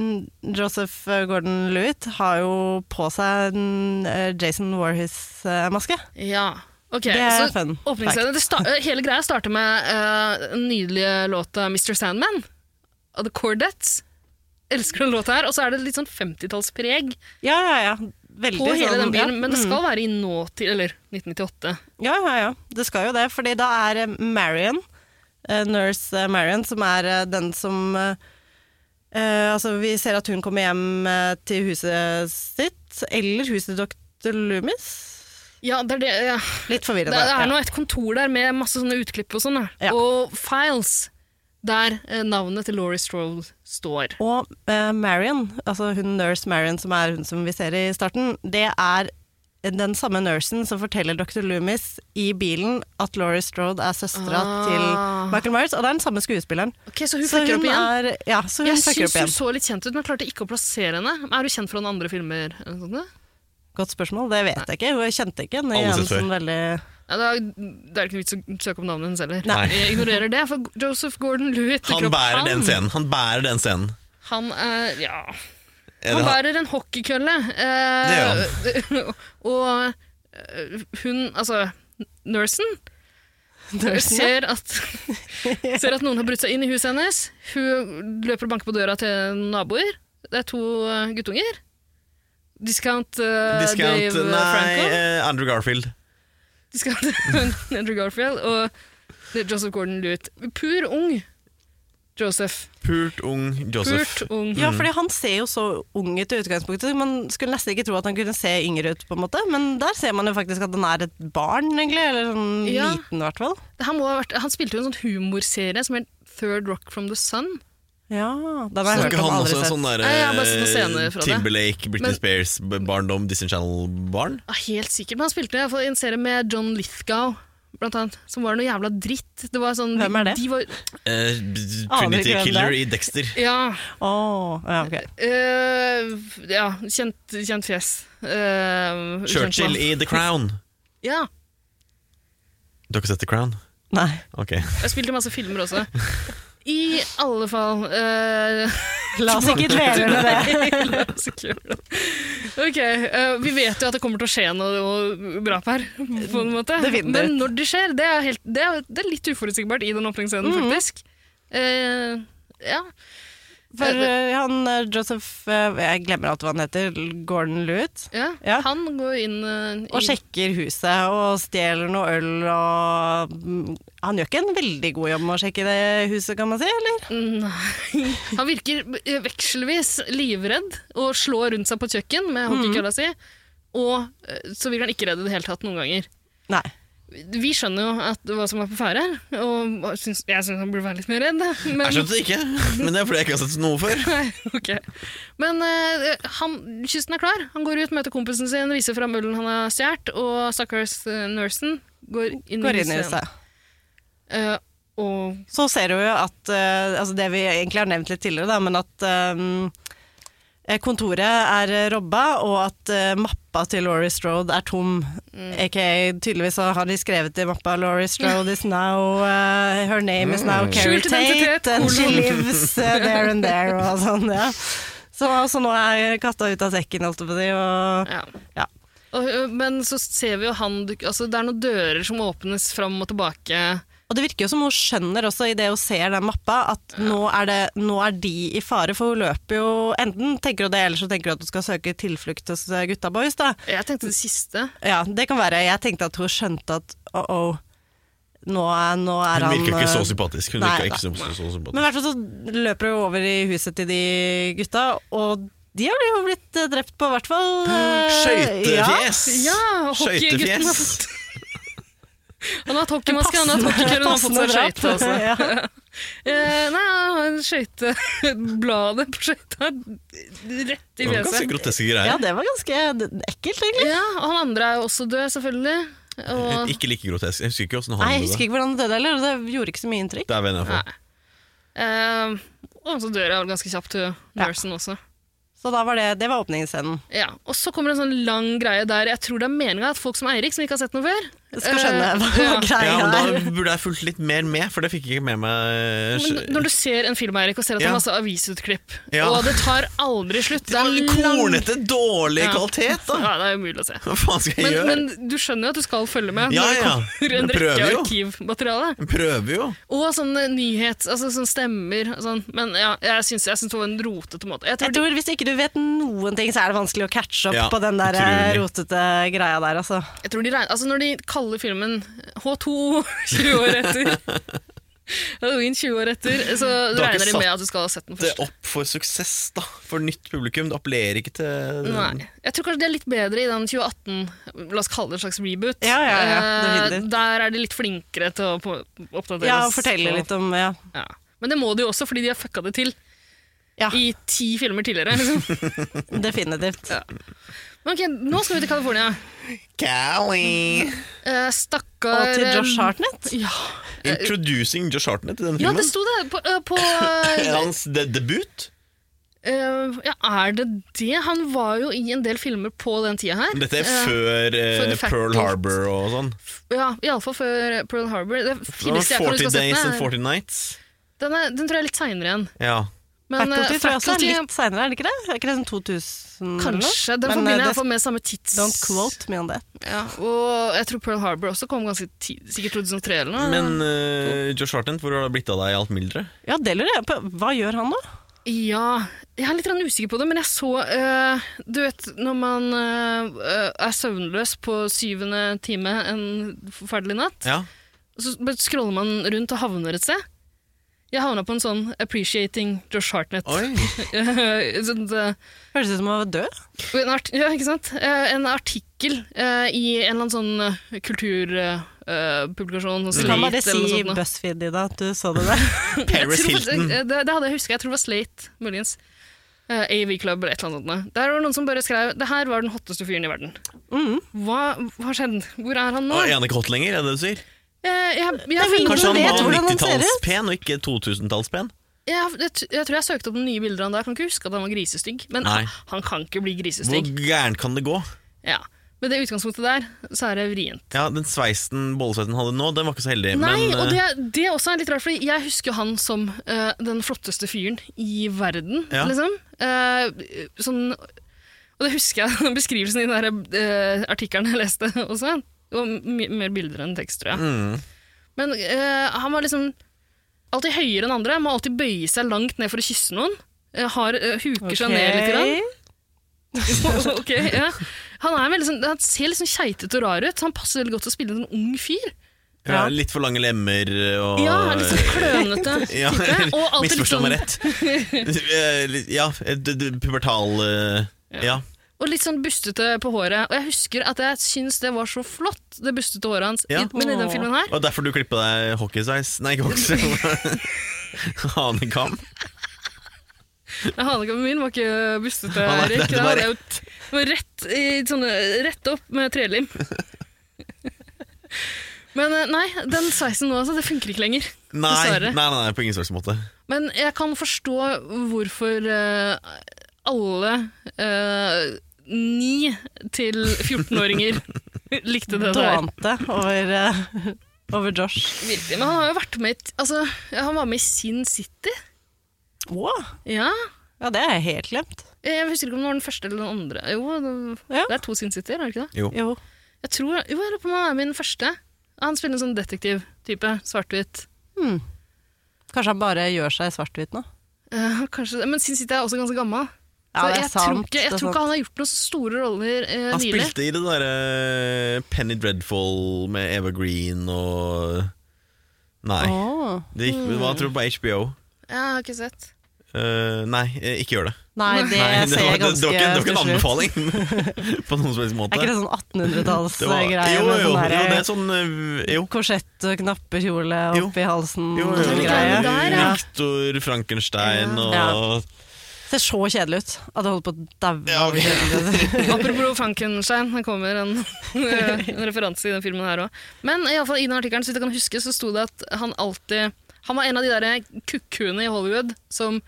Joseph Gordon Lewitt har jo på seg en eh, Jason eh, Warhis-maske.
Ja. Ok,
Det er
så
fun
åpningsscenen det sta- eh, Hele greia starter med eh, den nydelige låta Mr. Sandman av The Cordettes. Elsker den låta her. Og så er det litt sånn 50-tallspreg
Ja, ja, ja. Veldig
på hele
sånn,
den bilen,
ja.
men det
Mm.
skal være i nåtid, eller 1998.
Ja, ja, ja. Det skal jo det, fordi da er eh, Marion, eh, nurse eh, Marion, som er eh, den som eh, eh, Altså, vi ser at hun kommer hjem eh, til huset sitt, eller huset til dr. Loomis.
Ja, det er det. Ja.
Litt
Det,
forvirrende.
det
ja.
er nå et kontor der med masse sånne utklipp og sånn. da.
Ja.
Og files der eh, navnet til Laurie Strode står.
Og eh, Marion, altså hun nurse Marion som er hun som vi ser i starten, det er den samme nursen som forteller dr. Loomis i bilen at Laurie Strode er søstera
Ah.
til Michael Myers, og det er den samme skuespilleren.
Ok, Så hun
Så
fucker opp igjen.
er Ja, så hun
Jeg
fucker
syns
opp
hun
igjen.
så litt kjent ut, men jeg klarte ikke å plassere henne. Er hun kjent fra noen andre filmer? Eller noe sånt? da?
Godt spørsmål, det vet jeg ikke. Hun kjente ikke henne
Aldri
igjen
sett før.
som veldig
Ja, det, er, det er ikke noe vits å søke om navnet hennes heller.
Nei.
Jeg ignorerer det, for Joseph Gordon-Lewitt
Han bærer den scenen. Han bærer den scenen.
Han, er, ja.
Er
han
det han-
bærer en hockeykølle. Eh, og eh, hun, altså nursen,
nursen.
ser at, ser at noen har brutt seg inn i huset hennes. Hun løper og banker på døra til naboer. Det er to eh, guttunger. Discount, eh,
Discount
Dave
Nei,
Franco.
eh, Andrew Garfield.
De skal til Andrew Garfield og Joseph Gordon-Lewitt. Pur ung Joseph.
Purt ung Joseph.
Purt ung.
Ja, fordi han ser jo så ung ut i utgangspunktet. Man skulle nesten ikke tro at han kunne se yngre ut, på en måte. Men der ser man jo faktisk at han er et barn, egentlig. Eller sånn
Ja.
liten, i hvert fall.
Det her må ha vært, han spilte jo en sånn humorserie som het Third Rock from the Sun.
Ja, den har jeg hørt
Snakker
om
han
aldri
også en
sett.
sånn der, eh,
Nei, jeg har bare sett noen scener fra det.
Timberlake, Britney
Men-
Spears-barndom, Disney Channel-barn?
Ja, helt sikkert. Men han spilte i hvert fall i en serie med John Lithgow, blant annet, som var noe jævla dritt. Det var sånn,
Hvem er det?
De var,
Eh,
Aner
Trinity
ikke hvem
Killer
det
i Dexter.
ja,
Åh, ja, ok.
øh, ja kjent, kjent fjes. Øh, kjent
Churchill
mann.
i The Crown.
Ja.
Du har ikke sett The Crown?
Nei.
Ok.
Jeg spilte i masse filmer også. I alle fall øh,
La oss ikke dvele ved det.
la oss ikke gjøre det. Ok, øh, Vi vet jo at det kommer til å skje noe, noe drap her, på en måte.
Definitivt.
Men når det skjer, det er, helt, det er, det er litt uforutsigbart i den åpningsscenen,
Mm.
faktisk. Eh, ja.
For eh, han eh, Joseph eh, Jeg glemmer alltid hva han heter. Gordon Lewitt.
Ja,
Ja.
han går inn eh, i-
Og sjekker huset og stjeler noe øl og mm, Han gjør ikke en veldig god jobb med å sjekke det huset, kan man si? eller?
Nei. Han virker eh, vekselvis livredd og slår rundt seg på kjøkken med
Mm.
hockeykølla si. Og eh, så virker han ikke redd i det hele tatt noen ganger.
Nei.
Vi skjønner jo at, hva som er på ferde, og syns, jeg syns han burde være litt mer redd.
Jeg skjønte det ikke, men det er fordi jeg ikke har sett noe før.
Nei, ok. Men eh, han, kysten er klar. Han går ut, møter kompisen sin, viser fram ølen han har stjålet, og stakkars eh, nursen går inn,
Går inn i
igjen.
huset.
Eh, og
Så ser du jo at eh, altså Det vi egentlig har nevnt litt tidligere, da, men at eh, kontoret er eh, robba, og at eh, mappa til Laurie Strode er tom.
Mm.
Aka tydeligvis så har de skrevet i mappa 'Laurie Strode is now eh, Her name is now Carrie
Skjult identitet,
Tate, and she
kolon.
lives eh, there and there', og sånn. ja. Så, så nå er katta ut av sekken, holdt jeg på å si. Og,
ja.
ja.
Og, ø, Men så ser vi jo han duk- altså Det er noen dører som åpnes fram og tilbake.
Og det virker jo som hun skjønner også i det hun ser den mappa, at nå, er det, nå er de i fare, for hun løper jo Enten tenker hun det, eller så tenker hun at hun skal søke tilflukt hos eh, gutta boys, da.
Jeg tenkte det siste.
Ja, det kan være. Jeg tenkte at hun skjønte at oh oh, nå er, nå er
Hun
han
virker ikke så
eh,
sympatisk. Hun
Nei,
virker ikke
da.
så, så, så sympatisk.
Men i hvert fall så løper hun over i huset til de gutta, og de har jo blitt eh, drept på, i hvert fall. eh,
Skøytefjes!
Ja, hockeygutten har
Skøytefjes!
fått Han har hatt hockeymaske, han har hatt hockeykølle, han har fått seg
Passende
skøyte
drap.
også.
Ja.
Eh, nei, han har en skøyte Bladet på skøyta rett i
Det var ganske
fjeset.
groteske
ja,
greier.
det var ganske ekkelt, egentlig.
Ja, og han andre er jo også død, selvfølgelig. Og
Eh, Ikke like grotesk. Jeg husker ikke åssen
Nei,
han
jeg
gjorde
husker
det.
ikke hvordan det døde heller, og det gjorde ikke så mye inntrykk.
Det er venner for.
Nei. eh, og så dør jeg vel ganske kjapt, hun nursen også.
Så da var det, det var åpningsscenen.
Ja, Og så kommer en sånn lang greie der jeg tror det er meninga at folk som Eirik, som ikke har sett noe før
Skal skjønne hva
Eh, ja.
greia
Ja, men
er.
Da burde jeg fulgt litt mer med, for det fikk jeg ikke med meg. eh,
Men Når du ser en film Eirik, og ser at det
Ja.
er masse avisutklipp,
Ja.
og det tar aldri slutt Det er
Det var
en lang-
kornete, dårlig
Ja.
kvalitet, da!
Ja, det er umulig å se.
Hva faen skal jeg
Men,
gjøre?
men du skjønner jo at du skal følge med
Ja,
når det
ja.
kommer en
Jeg prøver
rekke
jo.
arkivmateriale.
Jeg prøver jo.
Og sånne nyhets, altså sånne stemmer og sånn. Men ja, jeg syns jeg syns det var en rotete måte. Jeg
Jeg
tror
tror Hvis ikke du vet noen ting, så er det vanskelig å catche opp
Ja,
på den der eh,
utrolig.
rotete greia der, altså.
de, jeg tror de regner, altså Når de kaller filmen H2 20 år etter Halloween 20 år etter, så
Du har ikke
regner de med
satt
at du skal ha sett den
Det
først.
er opp for suksess, da. For nytt publikum. Det appellerer ikke til
Nei. Jeg tror kanskje det er litt bedre i den 2018, la oss kalle det en slags reboot.
Ja, ja, ja,
Eh,
definitivt.
Der er de litt flinkere til å på- oppdateres.
Ja, fortelle litt om ja.
Ja. Men det må de jo også, fordi de har fucka det til
ja,
i ti filmer tidligere. Liksom.
definitivt.
Men ok, nå skal vi til California.
Cali!
Eh, stakkar eh,
Og til Josh Hartnett.
Ja,
Introducing Josh Hartnett i denne
ja
filmen.
det sto det på, eh, på
Er Hans de debut?
eh, Ja, er det det? Han var jo i en del filmer på den tida her.
Men Dette er
Eh,
før eh,
før The Fact
Pearl
Act.
Harbor og sånn.
Ja, Iallfall før Pearl Harbor. Det
Det var
finnes jeg
40
40
Days and 40 Nights.
Den, er, den tror jeg er litt seinere igjen.
Ja.
Men, eh,
Faculty tror jeg også er
Faculty-
altså, litt seinere, er det ikke det? Er ikke det sånn 2000 eller noe?
Kanskje. Den
Men,
forbinder jeg
eh,
i hvert fall med samme tids...
det- Don't quote me on that.
Ja, og jeg tror Pearl Harbor også kom ganske tid, sikkert 2003 eller noe.
Men eh, Josh Hartnett, hvor har det blitt av deg i alt mylderet?
Ja, det lurer jeg på. Hva gjør han nå?
Ja, jeg er litt grann usikker på det, men jeg så eh, Du vet når man eh, er søvnløs på syvende time en forferdelig natt,
Ja.
så bare scroller man rundt og havner et sted. Jeg havna på en sånn Appreciating Josh Hartnett.
Oi.
Sånn, eh,
Høres ut som han var død.
en art ja, ikke sant? Eh, en artikkel eh, i en eller annen sånn eh, kultur... eh, eh, publikasjon. Sånn
Du kan bare
Slate eller noe
si
sånt noe.
BuzzFeed, Ida, at du så det der.
Jeg
Paris
tror faktisk-
Hilton.
eh, Det, det hadde jeg huska. Jeg tror det var Slate, muligens. Eh, AV Club eller et eller annet. sånt noe. Der var det noen som bare skrev det her var den hotteste fyren i verden.
Mm.
Hva har skjedd? Hvor er han nå?
Og er han ikke hot lenger, er det det du sier?
Eh, jeg, jeg,
er jo
jeg,
ingen
Kanskje
vet
han var
hvordan han ser ut.
90-tallspen og ikke 2000-tallspen?
jeg, jeg, tror jeg søkte opp de nye bildene da. Jeg kan ikke huske at han var grisestygg. Men
Nei.
han kan ikke bli
Hvor
grisestygg.
gærent kan det gå?
Ja. Med det utgangspunktet der, så er det vrient.
Ja, Den sveisen Bollesveiten hadde nå, den var ikke så heldig.
Nei,
men,
og
eh,
det, det er også litt rart, fordi jeg husker jo han som eh, den flotteste fyren i verden,
Ja.
liksom. Eh, sånn, og det husker jeg beskrivelsen i den der, eh, artikkelen jeg leste også. Det var my- mer bilder enn tekst, tror jeg.
mm.
Men eh, han var liksom alltid høyere enn andre, må alltid bøye seg langt ned for å kysse noen. Eh, har, eh, huker seg ned litt. Grann. ok, ja. Han, er veldig sånn, han ser litt sånn keitete og rar ut, så han passer veldig godt til å spille en sånn ung fyr.
ja,
Ja.
Eh, Litt for lange lemmer og
Ja, han er litt sånn klønete
Ja,
type. Og alltid litt
Misforstå
sånn,
meg rett. Eh, litt- ja, eh, d- d- pubertal eh, Ja.
og litt sånn bustete på håret. Og jeg husker at jeg syns det var så flott, det bustete håret hans.
Ja.
I, men i den filmen her
Og derfor du klippa deg hockeysveis Nei, ikke hockeysveis. Hanekam.
Hanekammen min var ikke bustete,
Ah, nei,
Erik.
det var
Det var rett. Var rett, i, sånne, rett opp med trelim. Men eh, nei, den sveisen nå, altså. Det funker ikke lenger.
Nei, nei,
Dessverre.
nei, nei, på ingen slags måte.
Men jeg kan forstå hvorfor eh, alle eh, 9 til 14-åringer likte det der.
Dånte over, eh, over Josh.
Virkelig. Men han har jo vært med i t- altså, ja, Han var med i Sin City.
Wow.
Ja.
Ja, det har jeg helt glemt.
Jeg husker ikke om det var den første eller den andre. Jo, det,
Ja.
det er to Sin City, er det ikke det?
Jo.
Jo.
Jeg tror, jo, jeg lurer på om han er med i den første. Han spiller en sånn detektiv-type. Svart-hvitt.
Hmm. Kanskje han bare gjør seg svart-hvit nå?
Eh, kanskje, men Sin City er også ganske gammel.
Ja,
så
det er
jeg tror
sant,
ikke, jeg
det er
tror ikke
sant.
han har gjort noen så store roller eh,
Han
nylig.
spilte i det derre eh, Penny Dreadful med Eva Green og Nei.
Åh.
Det gikk, det var, tror jeg, på HBO.
Ja, jeg har ikke sett.
Eh, nei, eh, ikke gjør det.
Nei, det
Nei,
ser
var-
jeg ganske
det, var ikke, det var ikke en
stusslig ut.
anbefaling på noen som helst måte.
Er ikke det sånn
Det var-
1800-tallsgreie?
jo, jo, jo,
med sånn
jo,
derre-
det er sånn eh, Jo.
Korsett og knappekjole
Jo.
oppi halsen
jo,
og
jo,
sånn
Det er
greie.
litt der, ja.
Victor Frankenstein og
Ja. Ser så kjedelig ut at det holder på å daue.
Ja, ok.
Apropos Frankenstein, det kommer en, en referanse i den filmen her òg. Men i, alle fall, i den artikkelen så vidt jeg kan huske, så sto det at han alltid Han var en av de der kukkhuene i Hollywood som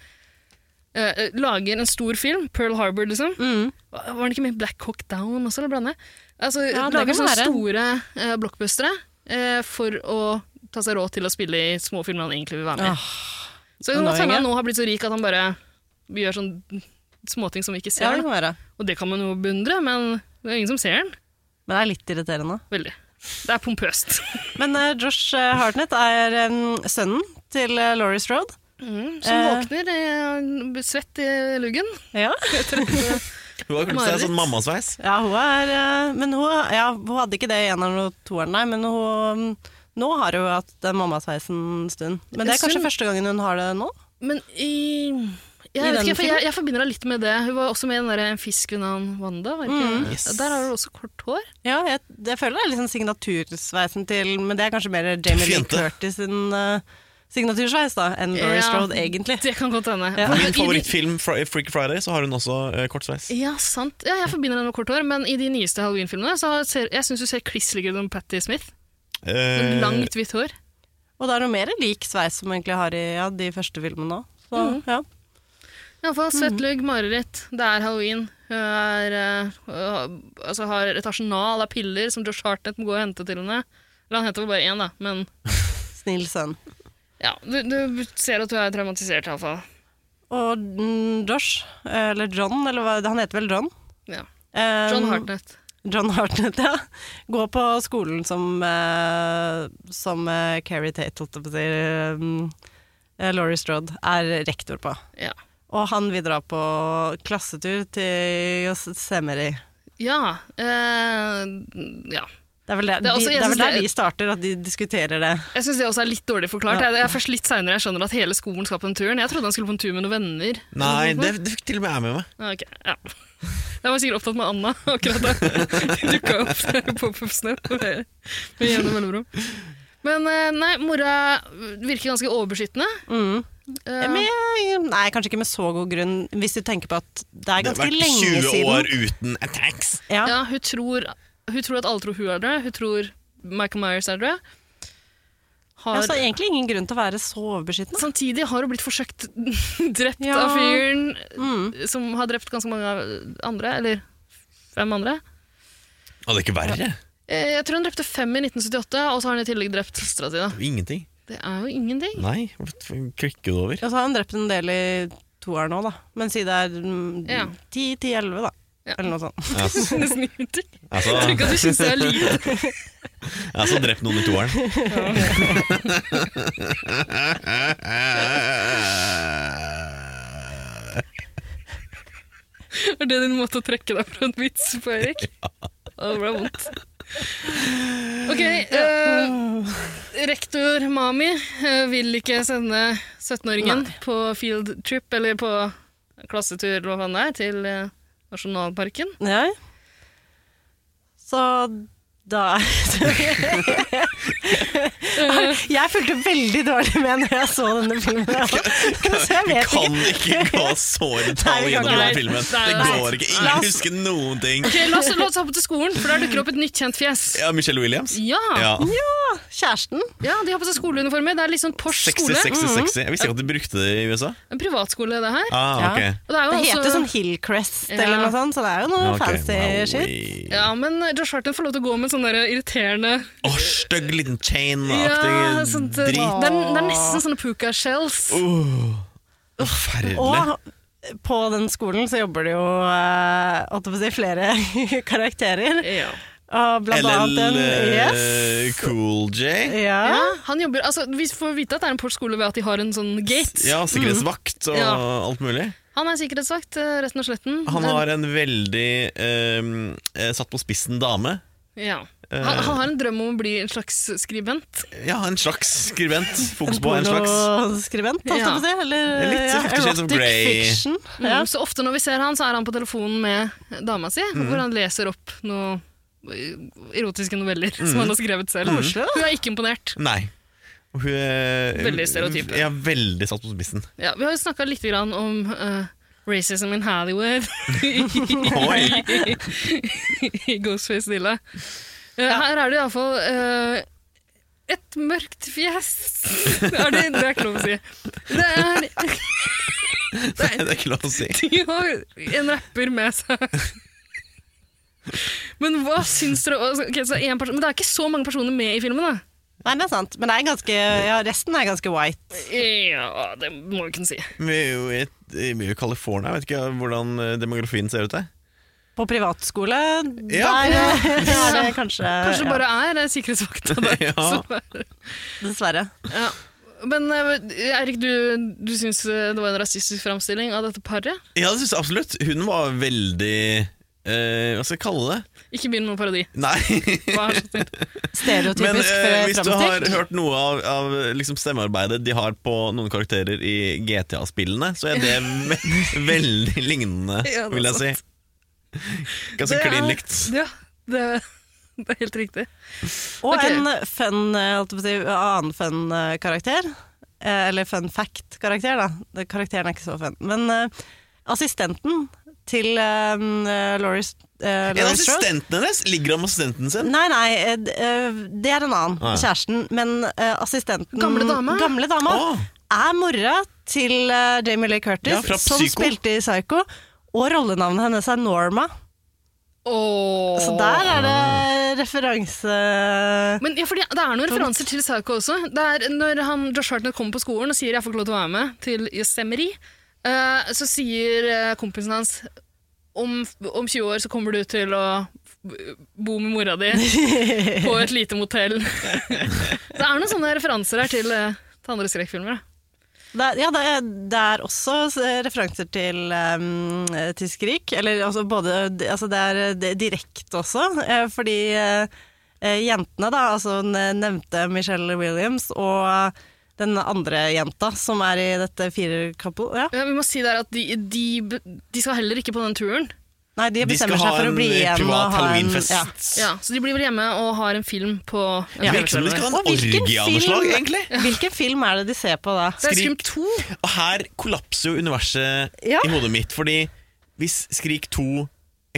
eh, lager en stor film, Pearl Harbor, liksom.
Mm.
Var han ikke med i Black Hawk Down også, eller blande? Altså,
Ja, det
lager
kan
sånne
være.
store eh, blockbustere eh, for å ta seg råd til å spille i små filmer han egentlig vil være med i.
Ah,
Så det kan godt hende
annoying,
han nå har blitt så rik at han bare gjør sånn småting som vi ikke
ja,
ser.
det
da.
kan være.
Og det kan man jo beundre, men det er ingen som ser den.
Men det er litt irriterende.
Veldig. Det er pompøst.
Men eh, Josh eh, Hartnett er eh, sønnen til uh, Laurie Strode.
Mm, som
Eh.
våkner eh, svett i luggen.
Ja.
Hun har kanskje
Marit.
seg sånn mammasveis.
hun er eh, Men hun, ja, hun hadde ikke det i en av toeren, nei, men hun mm, nå har hun hatt den mammasveisen en stund. Men det er kanskje
Stund.
første gangen hun har det nå?
Men i jeg,
I
vet
den
ikke, for jeg,
filmen?
jeg forbinder henne litt med det. Hun var også med i den der En fisk ved navn Wanda. Var det ikke?
Mm.
Yes.
Der har hun også kort hår.
Ja, jeg, jeg føler det er liksom signatursveisen til Men det er kanskje mer Jamie Lee
Fint, det.
Curtis sin eh, signatursveis da, enn Laurie
Ja.
Strode, egentlig.
Det kan godt hende.
Ja.
På
For i
min
de-
favorittfilm, Fri- Freaky Friday, så har hun også eh, kort sveis.
Ja, sant. Ja, jeg forbinder henne med kort hår, men i de nyeste Halloween-filmene så ser jeg synes hun ser kliss like ut som Patti Smith.
Eh,
Sånn langt, hvitt hår.
Og det er noe mer lik sveis som hun egentlig har i ja, de første filmene òg. Så ja.
Iallfall svett lugg, mareritt. Det er halloween. Hun er, eh, øh, altså har et arsenal av piller som Josh Hartnett må gå og hente til henne. Eller han henter vel bare én, da. Men
Snill sønn.
ja, du, du ser at hun er traumatisert, iallfall.
Og mm, Josh, eller John, eller hva, han heter vel John?
Ja.
Eh,
John Hartnett.
John Hartnett, ja. Går på skolen som, eh, som eh, Carrie Tate, holdt jeg på å si, eh, eh, Laurie Strode, er rektor på.
Ja.
Og han vil dra på klassetur til Yosemite.
Ja, eh, ja.
Det Det er vel der,
Det er også-
de,
jeg
det er
synes
vel der
det-
de starter, at de diskuterer det.
Jeg syns det også er litt dårlig forklart. Jeg- Det er først litt seinere jeg skjønner at hele skolen skal på den turen. Jeg trodde han skulle på en tur med noen venner.
Nei, det, det fikk til og med jeg med meg.
Ja, Ok, ja. Jeg var sikkert opptatt med Anna akkurat da. Dukka opp på Puffsnø med med jevne mellomrom. Men eh, nei, mora virker ganske overbeskyttende. Eh,
Mm. Med, nei, kanskje ikke med så god grunn, hvis du tenker på at det er
Det har
ganske
vært 20
lenge siden.
år uten attacks.
Ja.
ja, hun, tror, hun tror at alle tror hun er død. Hun tror Michael Myers er død. Har,
Altså, egentlig ingen grunn til å være så overbeskyttende.
samtidig har hun blitt forsøkt drept
Ja.
av fyren
Mm.
som har drept ganske mange av andre. Eller fem andre.
Og det er ikke verre.
Eh, Jeg tror hun drepte fem i 1978, og så har hun i tillegg drept søstera si. da.
Ingenting.
Det er jo ingenting.
Nei, hvorfor klikker du over?
Og så har han drept en del i toeren nå, da. Men si det er mm,
Ja.
10-11, da.
Ja.
Eller noe sånn.
Jeg har
Nesten ingenting.
altså,
Jeg tror ikke at du syns det er lite.
jeg har så drept noen i toeren.
Er det din måte å trekke deg fra en vits på, Erik? Å, Det ble vondt. Ok, eh, rektor Mami eh, vil ikke sende 17-åringen på field trip, eller på klassetur, eller hva faen det er, til eh, nasjonalparken.
Ja. Så da Jeg fulgte veldig dårlig med når jeg så denne filmen. her også. Så jeg vet ikke.
Kan ikke gå så i
Nei,
detalj
vi kan
gjennom
ikke.
den filmen.
Nei,
Det
nei.
går ikke.
La
Ingen
oss-
husker noen ting.
Ok, La oss, la oss hoppe til skolen, for der dukker opp et nytt kjent fjes.
Ja, Michelle Williams.
Ja,
Ja.
Kjæresten.
ja, de har på seg skoleuniformer. Det er litt sånn Porsch
60,
skole.
60,
Mm-hmm.
60. Jeg visste ikke at de brukte det i USA.
En privatskole, det her.
Ah,
Ja.
ok.
Og det er jo
Det
også-
heter sånn Hillcrest
altså- Ja.
eller noe sånt, så det er jo noe
Ok,
fancy
Maui.
shit.
Ja, men Josh Harton får lov til å gå med sånn der irriterende
Åh, stygg liten chain-aktig
ja,
sånn
sånt, eh,
drit.
Det, er, det er nesten sånne puka shells.
Uh, Forferdelig.
Og på den skolen så jobber det jo eh, holdt jeg på å si, flere karakterer.
Ja.
Og blant annet
LL
en yes.
eh, Cool J.
Ja.
Ja, han jobber, altså, vi får vite at det er en Porsch skole ved at de har en sånn gate.
Ja, sikkerhetsvakt og
Mm-hmm.
Ja.
alt mulig.
Han er sikkerhetsvakt eh, resten av sletten.
Han har en veldig eh, eh, satt på spissen dame.
ja.
eh,
han, han har en drøm om å bli en slags skribent.
Ja, en slags skribent. Fokus på en slags
Pornoskribent, holdt jeg på å si. Eller
Litt
ja,
Fifty Shades of
erotic
Grey.
fiction. Ja.
Mm, Så ofte når vi ser han, så er han på telefonen med dama si,
Mhm.
hvor han leser opp noen erotiske noveller
Mhm.
som han har skrevet selv.
Koselig, da.
Hun er ikke imponert.
Nei. Og Hun, eh,
Veldig stereotype.
Ja, veldig satt på spissen.
Ja, vi har jo snakka litt grann om eh, racism in Hollywood
Oi!
i Ghostface Dilla. Eh, Her er det iallfall uh, et mørkt fjes er det, det er ikke lov å si. Det er
Det er ikke lov å si.
De har en rapper med seg. Men hva syns dere altså, ok, så en person, Men det er ikke så mange personer med i filmen, da.
Nei, det er sant. Men det er ganske, ja, resten er ganske white.
Ja, det må vi kunne si.
Vi er jo i et- vi er jo i California, jeg vet ikke hvordan eh, demografien ser ut der.
På privatskole,
Ja.
der eh, er det kanskje,
Kanskje det
ja,
bare er eh, sikkerhetsvakta der.
Ja.
som er-
Dessverre.
Ja. Men eh, Erik, du, du syns eh, det var en rasistisk framstilling av dette paret?
Ja, det synes jeg absolutt. Hun var veldig eh, Hva skal jeg kalle det?
Ikke begynn med parodi.
Nei,
Hva er sånn?
men
Stereotypisk
eh, hvis du har
fremstilt.
hørt noe av, av liksom stemmearbeidet de har på noen karakterer i GTA-spillene, så er det ve veldig lignende,
Ja, det er
vil jeg si.
Det
Ganske
er-
klin likt.
Ja, det, det er helt riktig.
Og
Ok.
en fun, eh, holdt jeg på å si, annen fun eh, karakter. Eh, Eller fun fact-karakter, da. Det- Karakteren er ikke så fun. Men eh, assistenten til eh, eh, Laurie S-
En
eh,
av
Laurie Strode
assistentene hennes ligger han med assistenten sin.
Nei, nei, eh, d- eh, det er en annen.
Ah, ja.
Kjæresten. Men eh, assistenten
Gamle dama?
Gamle dama
Å,
er mora til eh, Jamie Lee Curtis,
Ja, fra
som
Psycho.
spilte i Psycho. Og rollenavnet hennes er Norma.
Åh.
Så der er det referanse
Men ja, fordi Det er noen referanser til Psycho også. Det er Når han, Josh Hartnett kommer på skolen og sier 'jeg får ikke lov til å være med' til Yosemite, eh, så sier eh, kompisen hans om, om 20 år så kommer du til å bo med mora di på et lite motell. det er noen sånne referanser her til, eh, til andre skrekkfilmer. da.
Det er, ja, det er, det er også eh, referanser til, eh, til Skrik. Eller altså både Altså det er eh, det- direkte også, eh, fordi eh, eh, jentene, da, altså hun eh, nevnte Michelle Williams og eh, den andre jenta som er i dette firerkappet. Ja.
Ja, vi må si der at de, de, de skal heller ikke på den turen.
Nei, de
De skal
bestemmer
ha
seg for
en
å bli
eh,
igjen
privat
og ha en
halloweenfest.
ja.
Ja, så de blir vel hjemme og har en film på en TV-serie.
Det virker som de skal ha
Og
en
hvilken
orgie av noe slag,
film-
egentlig.
Hvilken film er det de ser på da?
Det er
Skrik.
Skrim 2.
Og her kollapser jo universet
Ja.
i hodet mitt, fordi hvis Skrik 2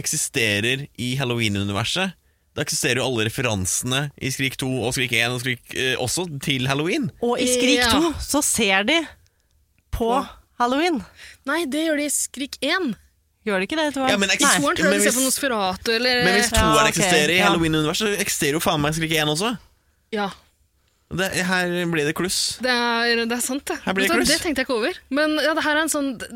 eksisterer i Halloween-universet, da eksisterer jo alle referansene i Skrik 2 og Skrik 1 og Skrik eh, også til Halloween.
Og i Skrik
Ja.
2 så ser de på halloween.
Nei, det gjør de i Skrik 1.
Gjør de ikke det? Tor?
Ja, men
Nei.
Toren tror
Men
jeg de ser
hvis-
på Nosferatu eller
Men hvis
Eh, Ja,
toeren
ok,
eksisterer i
ja.
Halloween-universet, så eksisterer jo faen meg Skrik 1 også.
Ja,
Det, her ble det kluss.
det er, det er sant, det.
Her blir
Vet
det
du hva,
kluss.
det tenkte jeg ikke over. Men ja, det her er en sånn å, det,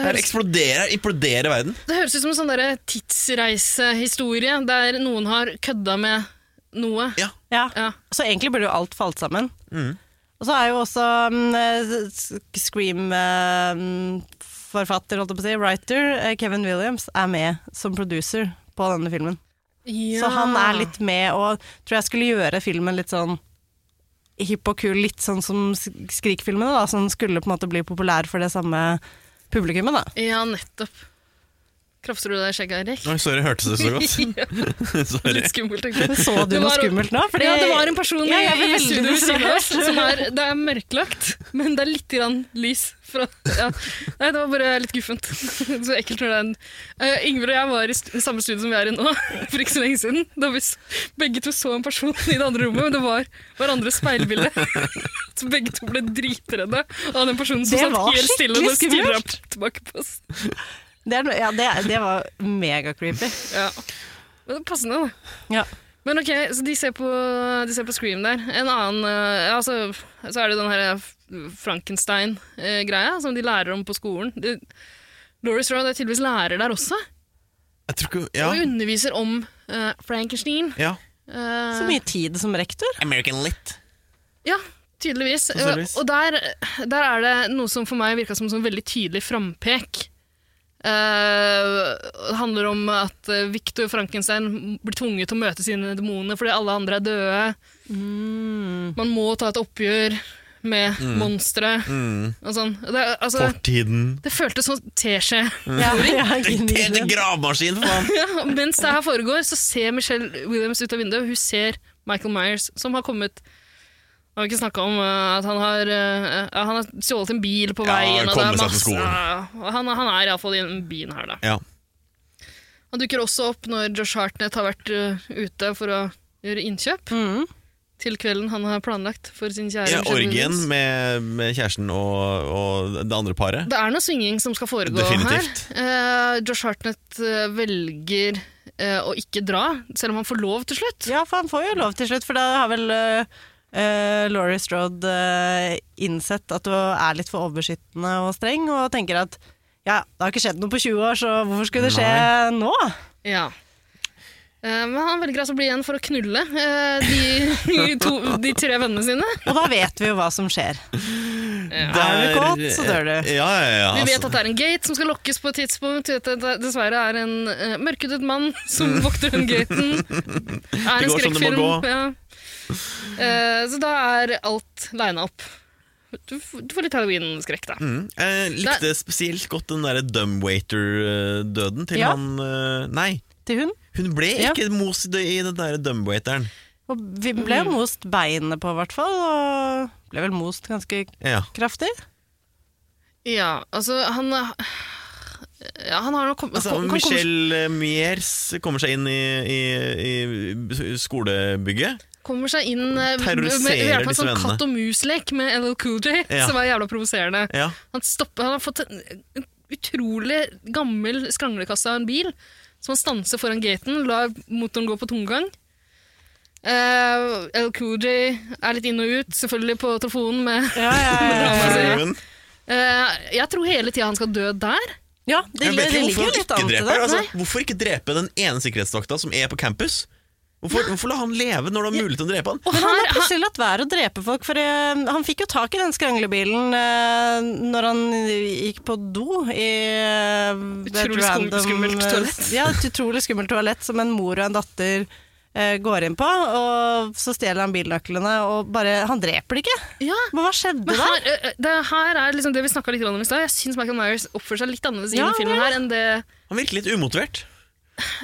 Her
høres,
eksploderer, imploderer verden.
det høres ut som en sånn derre tidsreisehistorie der noen har kødda med noe.
Ja.
Ja.
Ja.
Så egentlig burde jo alt falt sammen.
Mm.
Og så er jo også mm, eh, Scream-forfatter, eh, holdt jeg på å si, writer eh, Kevin Williams er med som producer på denne filmen. Så han er litt med og tror jeg skulle gjøre filmen litt sånn hipp og kul, litt sånn som Sk- Skrik-filmene, da, som skulle på en måte bli populær for det samme publikummet, da.
Ja, nettopp. Krafser du deg i skjegget, Erik?
Oi, sorry, hørtes det så godt?
Ja,
sorry.
litt skummelt, egentlig.
Så du
Det
noe
var-
skummelt nå? Fordi-
Ja, det var en person
Ja, jeg ble
i
veldig
studio ved siden av oss
distrahert.
som er Det er mørklagt, men det er litt grann lys. Fra, ja. Nei, det var bare litt guffent. Så ekkelt når det er en Eh, Ingvild og jeg var i stu- samme studio som vi er i nå, for ikke så lenge siden. Da vi s- begge to så en person i det andre rommet, men det var hverandres speilbilde. Så begge to ble dritredde av den personen som
Det
satt
var
helt stille og
skikkelig
stirra
skummelt.
tilbake på oss.
Det, er, no- ja, det, det var megacreepy.
Ja. Men det er passende, da.
Ja.
Men ok, så de ser på, de ser på Scream der. En annen eh, ja, altså, Så er det den her Frankenstein-greia eh, som de lærer om på skolen. De, Laurie Strode er tydeligvis lærer der også,
Jeg tror ikke Ja.
og underviser om eh, Frankenstein.
ja.
Eh,
Så mye tid som rektor.
American Lit.
Ja, tydeligvis.
Sannsynligvis.
Eh, Og der, der er det noe som for meg virka som en veldig tydelig frampek. Eh, det handler om at eh, Victor Frankenstein blir tvunget til å møte sine demoner fordi alle andre er døde. Man må ta et oppgjør med monstre
Mm.
og sånn. Det, er- altså,
Fortiden.
det føltes sånn teskje.
Ja, ja,
Det er en
genialt.
gravemaskin, for faen!
Ja, mens det her foregår, så ser Michelle Williams ut av vinduet. Hun ser Michael Myers, som har kommet Har vi ikke snakka om eh, at han har, eh, ja, han har stjålet en bil på
Ja,
veien? og det
kommet
er
seg til
masse-
skolen.
ja, og han, han er iallfall i den byen her, da.
Ja.
Han dukker også opp når Josh Hartnett har vært eh, ute for å gjøre innkjøp.
Mhm.
Til kvelden han har planlagt for sin kjære
Ja,
Michelle
Orgien
Williams.
med, med kjæresten og, og det andre paret.
Det er noe swinging som skal foregå
Definitivt.
her. Eh, Josh Hartnett eh, velger eh, å ikke dra, selv om han får lov til slutt.
Ja, for han får jo lov til slutt, for da har vel øh, øh, Laurie Strode øh, innsett at du er litt for overbeskyttende og streng, og tenker at ja, det har ikke skjedd noe på 20 år, så hvorfor skulle det skje nå?
Ja. Eh, Men han velger altså å bli igjen for å knulle eh, de, to, de tre vennene sine.
Og da vet vi jo hva som skjer.
Ja.
Er du
Der-
kåt, så dør du.
Ja, ja, ja.
Vi vet
altså.
at det er en gate som skal lokkes på et tidspunkt. Vi vet at det dessverre er en uh, mørkhudet mann som vokter den gaten. Er en
Det går som det må
skrekkfilm.
gå.
Ja. Eh, så da er alt lina opp. Du, f- du får litt halloween-skrekk, da.
Mm. Jeg likte spesielt godt den derre dumbwaiter-døden til
Ja.
han eh, Nei,
Til hun.
hun ble
Ja.
ikke most i det- i den derre dumbwaiteren.
Og vi ble
Mm.
jo most beinet på, i hvert fall, og ble vel most ganske
Ja.
kraftig.
Ja, altså, han eh, ja, Han har nok kom,
Altså,
kom- kan komme-
Michelle Miers kommer seg inn i, i, i skolebygget.
Kommer seg inn eh, ved
Terroriserer
ved hjelp av en
disse
sånn
vennene.
katt og mus-lek med LL Cool J,
Ja.
som er jævla provoserende.
Ja.
Han, stopper, han har fått en, en utrolig gammel skranglekasse av en bil, som han stanser foran gaten, lar motoren gå på tomgang. Uh, LL Cool J er litt inn og ut, selvfølgelig på telefonen med
Ja, ja, ja.
ja.
Fruen.
Eh, Jeg tror hele tida han skal dø der.
ja det,
Jeg
det,
vet ikke
ligger
hvorfor
jo
han
litt
ikke
an til
dreper.
det.
Altså, hvorfor ikke drepe den ene sikkerhetsvakta som er på campus? Hvorfor, hvorfor la han leve når det var mulig til å drepe han?
Og
Men han
her,
har
her,
plutselig latt være å drepe folk, for eh, han fikk jo tak i den skranglebilen eh, når han gikk på do i eh, et
Utrolig skum- skummelt toalett.
Ja, et utrolig skummelt toalett som en mor og en datter eh, går inn på, og så stjeler han bilnøklene og bare Han dreper det ikke!
Ja,
Men hva skjedde
men
da?
her, ø, ø, det her er liksom det vi snakka litt om i stad. Jeg syns Michael Myers oppfører seg litt annerledes i
Ja,
denne filmen her enn det
Han virker litt umotivert.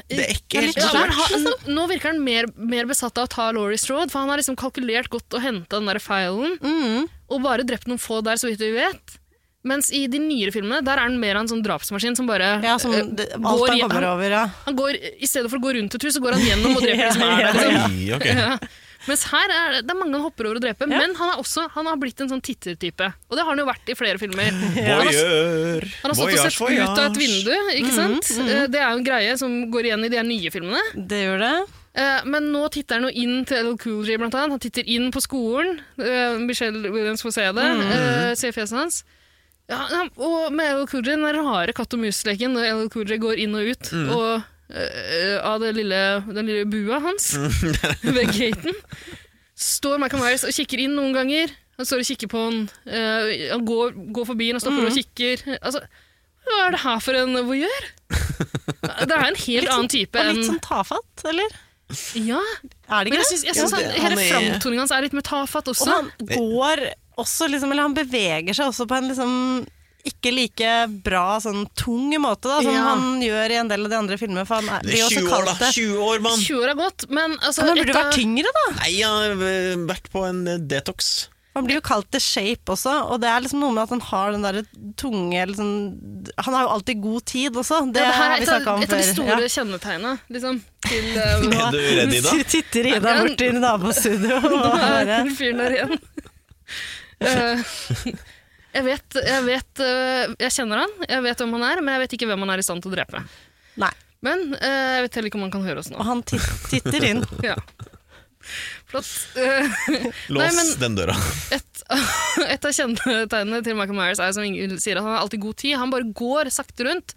Det er ikke
Ja,
helt
litt
ja, men
motivert.
han, altså, nå- Nå virker han mer, mer besatt av å ta Laurie Strode, for han har liksom kalkulert godt og henta den der feilen,
Mm.
og bare drept noen få der, så vidt vi vet. Mens i de nyere filmene der er han mer av en sånn drapsmaskin som bare
Ja, som
ø,
det,
eh, går
alt han
i-
kommer over, ja.
han går, I stedet for å gå rundt et hus, så går han gjennom og dreper de som er der. Liksom.
sånn. Oi, ok.
Mens her er det, det er mange han hopper over å drepe, men han, er også, han har blitt en sånn tittertype. Og det har han jo vært i flere filmer. Han har,
Voyeur.
han har stått og sett ut av et vindu,
Mm-hmm.
ikke sant? Eh, Det er jo en greie som går igjen i de her nye filmene.
Det gjør det.
Eh, Men nå titter han jo inn til LL Cool J, blant annet. Han titter inn på skolen. Eh, Michelle Williams får se det.
Mm.
eh, Se fjeset hans. Ja, han- og med LL Cool J, den der rare katt og mus-leken når LL Cool J går inn og ut
Mm.
og, eh, av det lille, den lille bua hans
Mm.
ved gaten. Står Michael Myers og kikker inn noen ganger. Han står og kikker på han. eh, han går, går forbi han og stopper og
Mm.
kikker. Altså, hva er det her for en voyeur? Det er en helt
Litt sånn-
annen type
Og litt
enn
sånn tafatt, eller?
Ja,
Er
men
det ikke
jeg
det?
syns, jeg
Jo,
syns han,
det- han
hele
er-
framtoningen hans er litt mer tafatt
Og
også.
han går også liksom, eller han beveger seg også på en liksom ikke like bra sånn tung måte da, som
Ja.
han gjør i en del av de andre filmene, for han er,
Det
blir jo
er
også
20 år,
kalt
da.
det.
20 år, mann.
20 år er gått, men altså
Men han
et
burde
av-
vært tyngre da.
Nei, jeg har eh, vært på en eh, detox.
Han blir jo kalt The Shape også, og det er liksom noe med at han har den der tunge liksom, Han har jo alltid god tid også, det,
ja, det her
har
er
vi
et,
snakka
av-
om
et av de
før.
store kjennetegnene liksom, til eh,
Er du redd, Ida?
Nå titter Ida
Ja, men-
bort i nabostudio og
Nå er
bare
den fyren der igjen. Eh, jeg vet, jeg, vet eh, jeg kjenner han, jeg vet hvem han er, men jeg vet ikke hvem han er i stand til å drepe.
Nei.
Men eh, jeg vet heller ikke om han kan høre oss
Og
nå.
han tit- titter inn.
Ja. Flott. Eh,
Lås
Nei, men-
den døra.
et, et av kjennetegnene til Michael Myers er som Ingrid sier, at han har alltid god tid. Han bare går sakte rundt.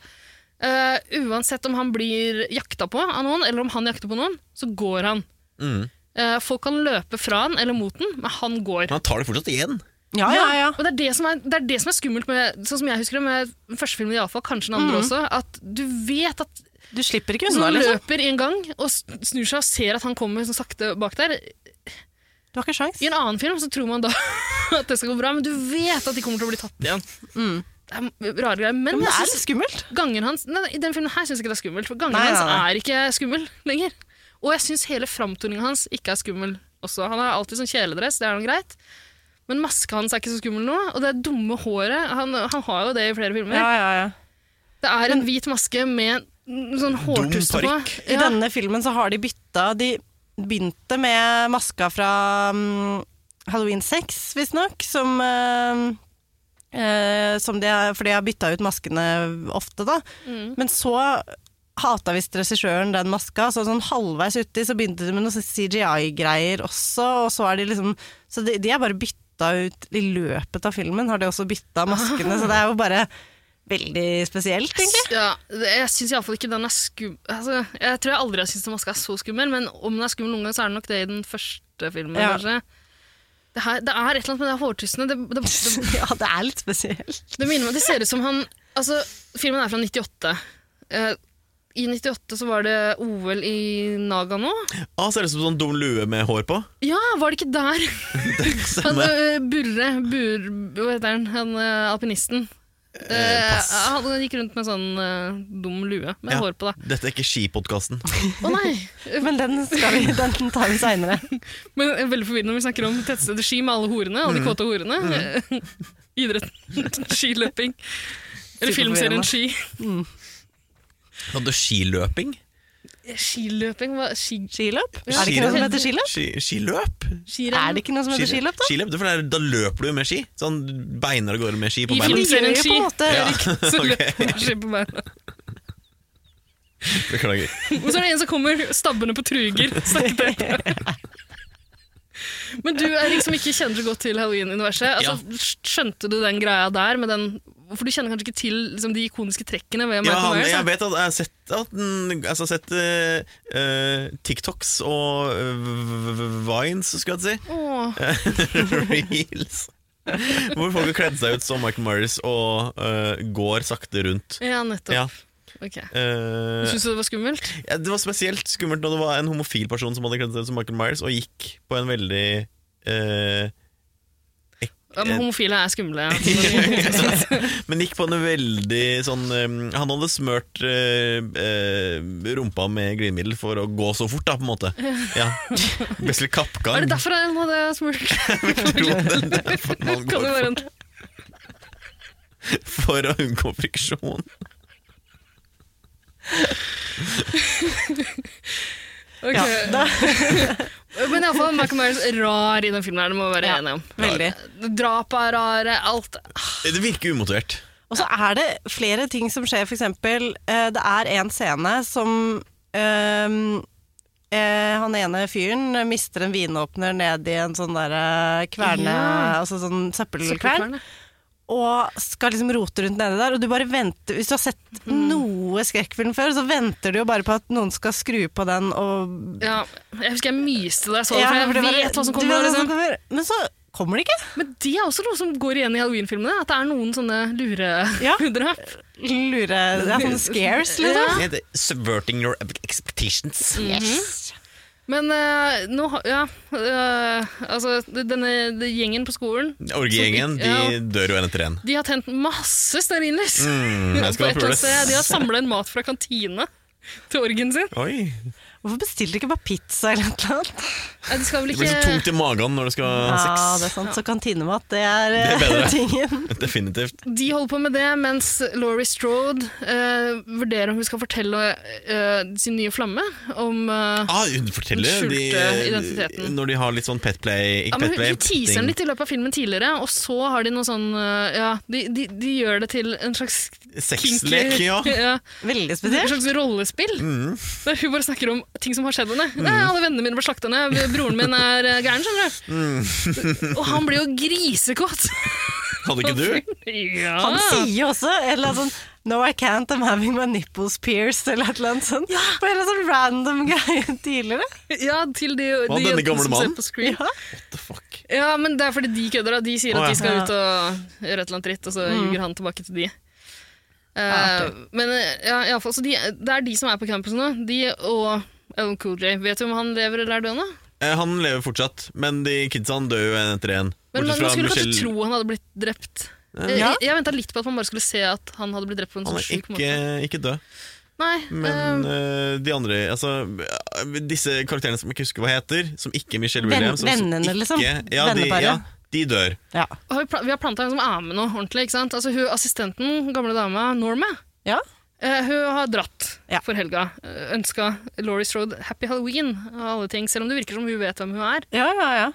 Eh, uansett om han blir jakta på av noen, eller om han jakter på noen, så går han.
Mm.
Eh, folk kan løpe fra han eller mot den, men han går.
Men han tar det fortsatt igjen.
Ja, ja, ja.
Og det er det, som er, det er det som er skummelt med sånn som jeg husker det med den første filmen, iallfall, kanskje den
Mhm.
andre også, at du vet at
Du slipper ikke
hvis
unna,
han
liksom.
løper en gang og snur seg og ser at han kommer sånn sakte bak der
Du har ikke sjans.
I en annen film så tror man da at det skal gå bra, men du vet at de kommer til å bli tatt igjen.
Mm.
Det er rare greier. Men,
Men
jeg
det er
synes,
litt skummelt.
gangen hans nei, nei, I den filmen her syns jeg ikke det er skummelt, for gangen
Nei,
hans
nei, nei.
er ikke skummel lenger. Og jeg syns hele framtoningen hans ikke er skummel også. Han har alltid sånn kjeledress, det er noe greit. Men maska hans er ikke så skummel nå, og det dumme håret Han, han har jo det i flere filmer.
ja, ja.
Det er en hvit maske med en sånn hårtuste på.
parykk.
I
Ja.
denne filmen så har de bytta De begynte med maska fra mm, Halloween 6, visstnok, som eh, eh, som de har, For de har bytta ut maskene ofte, da. Men så hata visst regissøren den maska, så sånn halvveis uti så begynte de med noen CGI-greier også, og så er de liksom Så de, de er bare bytta ut i løpet av filmen, har de også bytta maskene, så det er jo bare veldig spesielt, egentlig.
Ja, det- jeg syns iallfall ikke den er skummel altså, Jeg tror jeg aldri har syntes den maska er så skummel, men om den er skummel noen gang, så er det nok det i den første filmen,
Ja.
kanskje. Det, her, det er et eller annet med det hårtustene. Det, det, det,
Ja, det er litt spesielt.
det minner meg Det ser ut som han Altså, filmen er fra 98. Eh, I 98 så var det OL i Nagano.
Ah, ser ut som sånn dum lue med hår på.
Ja, var det ikke der? Han
Stemmer.
eh, Burre, bur, hva heter han, han eh, alpinisten. Eh,
pass.
han gikk rundt med sånn eh, dum lue med
Ja.
hår på, da.
Dette er ikke skipodkasten.
Å nei!
Men den, skal vi, den tar vi seinere.
Men det er veldig forvirrende når vi snakker om tettstedet ski med alle horene,
Mm.
alle de kåte horene. Idretten, skiløping. Eller filmserien Ski.
Hadde du skiløping?
Skiløping? Hva? Ski,
Skiløp? Er det ikke noe som heter skiløp?
Ski- skiløp?
skirenn?
Er det ikke noe som heter skiløp, da?
Skiløp, det er for det er- da løper du med ski. Sånn du beiner av gårde med ski
I
på
Men
beina.
det gjør jo på en måte
Ja.
Så
Ok.
løper du ski på beina.
Beklager.
Og så er det en som kommer stabbende på truger. Snakket etter. Men du er liksom ikke kjenner så godt til halloween-universet. Altså, Skjønte du den greia der? Med den, for du kjenner kanskje ikke til liksom, de ikoniske trekkene ved
Ja,
Michael
han,
Myers? da?
jeg vet at jeg har sett, at, den- altså, jeg har sett eh, eh, TikToks og eh, v- v- Vines, skulle jeg til å si.
Åh.
Reels. Hvor folk har kledd seg ut som Michael Myers og øh, eh, går sakte rundt.
Ja, nettopp.
Ja.
Ok.
Eh,
Du synes det var skummelt?
ja, det var spesielt skummelt når det var en homofil person som hadde kledd seg ut som Michael Myers, og gikk på en veldig eh,
Ja, men homofile er skumle. ja.
Men gikk på en veldig sånn eh, Han hadde smørt eh, eh, rumpa med glidemiddel for å gå så fort, da, på en måte. Ja. Best litt kappgang.
Er det derfor han hadde smurt?
Tror det er derfor man
Kan det
går
være en...
for å unngå friksjon?
Ok.
Ja, da,
Men iallfall, Michael Myers er rar i den filmen. her, det må vi være
Ja.
enige om.
veldig.
Drapet er rare, alt
Det virker umotivert.
Og så er det flere ting som skjer, for eksempel eh, Det er en scene som ehm, eh, han ene fyren mister en vinåpner ned i en sånn der eh, kverne,
Ja.
altså sånn søppelkvern.
Søppelkvern, ja.
og skal liksom rote rundt nedi der, og du bare venter Hvis du har sett noe skrekkfilm før, så venter du jo bare på at noen skal skru på den og
Ja, jeg husker jeg myste da jeg så det,
Ja,
for
for det
jeg
bare-
vet hva som
du
kommer.
vet hva som
Liksom.
kommer. Men så kommer det ikke.
Men det er også noe som går igjen i halloween-filmene. At det er noen sånne lure
Ja.
drap.
Lure Det er sånn scares, liksom. Mm.
Det heter subverting your expectations.
Men eh, nå ha- Ja. eh, altså, denne den gjengen på skolen,
Orgiegjengen
Ja.
de dør jo en etter en.
de har tent masse stearinlys.
Mm, jeg
På
skal
et eller
prøve
annet sted. De
det.
har samla inn mat fra kantina til orgen sin.
Oi.
Hvorfor bestilte de ikke bare pizza eller noe annet?
Nei, De skal vel
Det blir så tungt
ikke
i magen når du skal ha
Ja, det er
sex.
sant. Så kantinemat, det er, eh,
Det er bedre.
tingen.
Definitivt.
De holder på med det, mens Laurie Strode eh, vurderer om hun skal fortelle eh, sin nye flamme om eh,
Ah, hun
Den
forteller de,
skjulte identiteten.
når de har litt sånn petplay
Ja, men hun, de teaser den litt i løpet av filmen tidligere, og så har de noe sånn øh, Ja, de, de, de gjør det til en slags
Sexlek,
kinky-
ja.
ja,
Veldig
En
spesielt.
slags rollespill.
Mhm.
Der hun bare snakker om ting som har skjedd henne. Nei, alle vennene mine ble slakta ned, broren min er øh, gæren, skjønner du.
Mhm.
Og han blir jo grisekåt!
Hadde ikke du?
ja.
Han sier jo også et eller annet sånn No, I can't, I'm having my nipples pierced, eller et eller annet sånt. På en eller annen sånn random greie tidligere.
ja, til de,
Hva,
de
denne
jentene
gamle
som
mannen?
ser på screen. Ja.
What the fuck?
men det er fordi de kødder. da. De sier at
Å, ja. Mhm.
de skal ut og gjøre et eller annet dritt, og så ljuger han tilbake til de. Eh, men eh, ja, i alle fall, så de, det er de som er på campusen nå. De og Ellen Cool J. Vet du om han lever eller er død nå?
Eh, han lever fortsatt, men de kidsa han dør jo en etter en.
Men man,
Bortsett
man
fra
skulle kanskje
Michelle-
tro han hadde blitt drept. Eh,
Ja.
Jeg, jeg venta litt på at man bare skulle se at han hadde blitt drept på en
Han
sånn
er
sjuk
ikke,
måte.
ikke død,
Nei,
men
eh,
eh, de andre altså, eh, Disse karakterene som jeg ikke husker hva heter, som ikke Michelle
Venn-
Williams som-
vennene,
som
liksom.
ikke, ja, de,
Venneparet.
ja, de dør.
Ja.
eh,
har vi, pla- vi har planta en som er med nå ordentlig. ikke sant? Altså, hun, Assistenten, gamle dama, Norma,
ja.
eh, hun har dratt
Ja.
for helga. Uh, Ønska Laurie Strode happy halloween av alle ting, selv om det virker som hun vet hvem hun er.
Ja, ja, ja.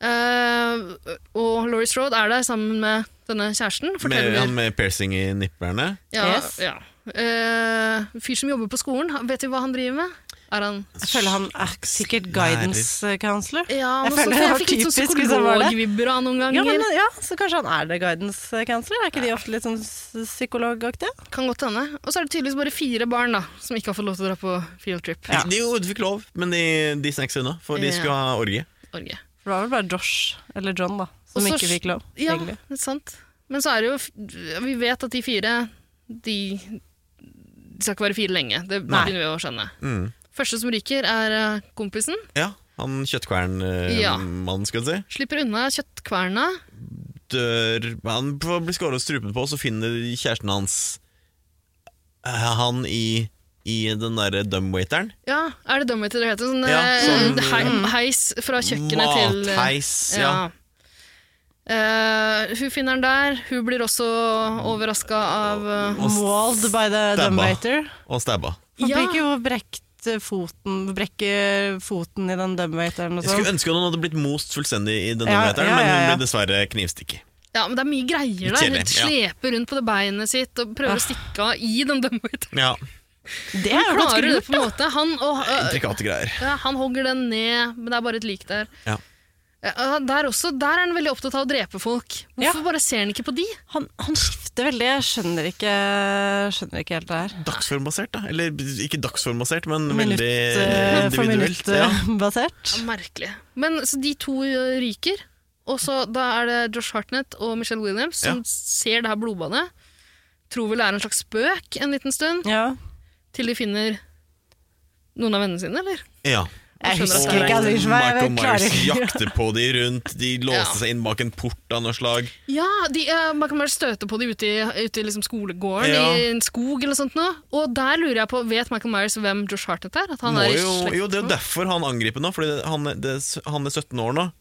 Eh, og Laurie Strode er der sammen med denne kjæresten.
Med,
Forteller
han med piercing i nipperne.
ja,
Yes.
ja. Eh, Fyr som jobber på skolen, han- vet du hva han driver med? Er han
Jeg føler han er sikkert guidance counselor.
Ja,
Jeg
jeg,
føler
føler,
det
jeg
var
fikk litt sånn
typisk hvis han var det.
psykologvibber av noen ganger.
Ja, men, eh, ja, så kanskje han er det guidance counselor? Er ikke de ofte litt sånn s- psykologaktige?
Kan godt hende. Og så er det tydeligvis bare fire barn da, som ikke har fått lov til å dra på field trip.
Ja.
De, jo, de fikk lov, men de, de snek seg unna, for de
Ja.
skulle ha orgie.
Norge.
For Det var vel bare Josh, eller John, da, som
Og så-
ikke fikk lov.
Ja,
egentlig.
det er sant. Men så er det jo, f- vi vet at de fire, de, de skal ikke være fire lenge. Det
Nei.
begynner vi å skjønne.
Mm.
Første som ryker er eh, kompisen.
Ja, han
Ja.
kjøttkvernmannen, skal vi si.
Slipper unna kjøttkverna.
Dør Han får- blir skåret og strupen på, og så finner kjæresten hans eh, han i, i den derre dumbwaiteren.
Ja, er det dummeter det heter? Sånn,
Ja,
eh,
sånn,
hei- heis fra kjøkkenet til... eh,
Matheis, ja.
Ja. Eh, hun finner den der. Hun blir også overraska av eh,
Og
Mauled by the
stabba.
dumbwaiter.
Og stabba.
Han
Ja.
fikk jo brekt eh, foten Brekker foten i den dumbwaiteren og
Jeg skulle
sånn.
ønske noen hadde blitt most fullstendig i denne
Ja,
meteren,
ja,
men
ja,
hun
ja.
ble dessverre knivstikket.
Ja, men det er mye greier der.
Kjedelig,
Hun
ja.
sleper rundt på det beinet sitt og prøver å stikke av i den dumbwaiteren.
Ja,
Ah. Det er jo ganske
Klarer det
lurt.
på en måte. Han, og, øh,
Intrikate greier.
ja, han hogger den ned, men det er bare et lik der.
Ja.
Ja, der, også, der er han veldig opptatt av å drepe folk. Hvorfor
Ja.
bare ser han ikke på de?
Han, han skifter veldig, jeg skjønner ikke, skjønner ikke helt det her.
Dagsformbasert, da. Eller ikke dagsformbasert, men
Minutt
veldig
eh, for
individuelt.
minutt
Ja.
eh, basert.
Ja, merkelig. Men så de to øh, ryker, og så da er det Josh Hartnett og Michelle Williams som
Ja.
ser det her blodbadet. tror vel det er en slags spøk en liten stund,
Ja.
til de finner noen av vennene sine, eller?
Ja.
Jeg
skjønner
husker ikke, altså. ikke hva
Michael
jeg- jeg klarer
Myers
ikke.
jakter på de rundt, de låste seg inn bak en port av noe slag.
Ja, de, eh, man kan bare støte på dem ute i, ute i liksom skolegården,
Ja.
i en skog eller noe sånt. Nå. Og der lurer jeg på, vet Michael Myers hvem Josh Hartnett er? At han
Må
er i
jo,
slekt
jo, det er jo
med-
derfor han angriper nå, fordi det, han, er- det, han er 17 år nå.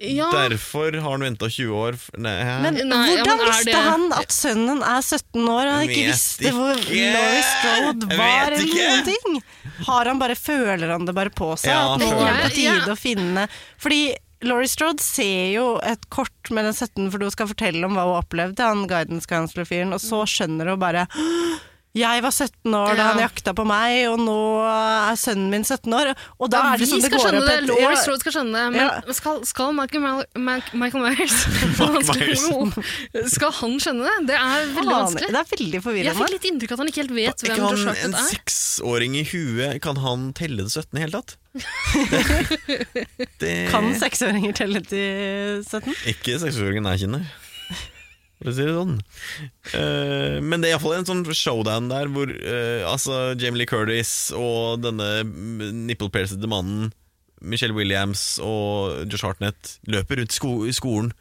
ja.
Derfor har han venta 20 år f- Nei, hæ?
Men
Nei, ja, men
hvordan
er
visste
det-
han at sønnen er 17 år og han ikke
Vet
visste hvor
ikke.
Laurie Strode
Jeg
var
vet
eller
ikke.
noen ting? Har han bare, føler han det bare på seg?
Ja,
at nå
føler
er det på
det.
tide å finne Fordi Laurie Strode ser jo et kort med den 17 for du skal fortelle om hva hun opplevde, han guidance counselor-fyren, og så skjønner hun bare jeg var 17
Mm.
år da
Ja.
han jakta på meg, og nå er sønnen min 17 år. Og da
Ja,
er
vi
det som det
skal
går
skjønne
opp
det,
et-
Laurie
Ja.
Strode skal skjønne det, men
Ja.
skal, skal Michael, Mal Ma- Michael Myers Skal han skjønne det? Det er veldig
Faen,
vanskelig.
Det er veldig
Jeg
forvirrende.
fikk litt inntrykk av at han ikke helt vet
Er
hvem
ikke
Josh
han en
Hartnett er.
seksåring i huet Kan han telle det 17 i hele tatt? Det, det,
Kan seksåringer telle til 17?
Ikke seksåringen jeg kjenner. For å si det sånn. Eh, men det er iallfall en sånn showdown der hvor eh, altså Jamie Lee Curtis og denne nipple-piercede mannen, Michelle Williams og Josh Hartnett, løper rundt sko i skolen.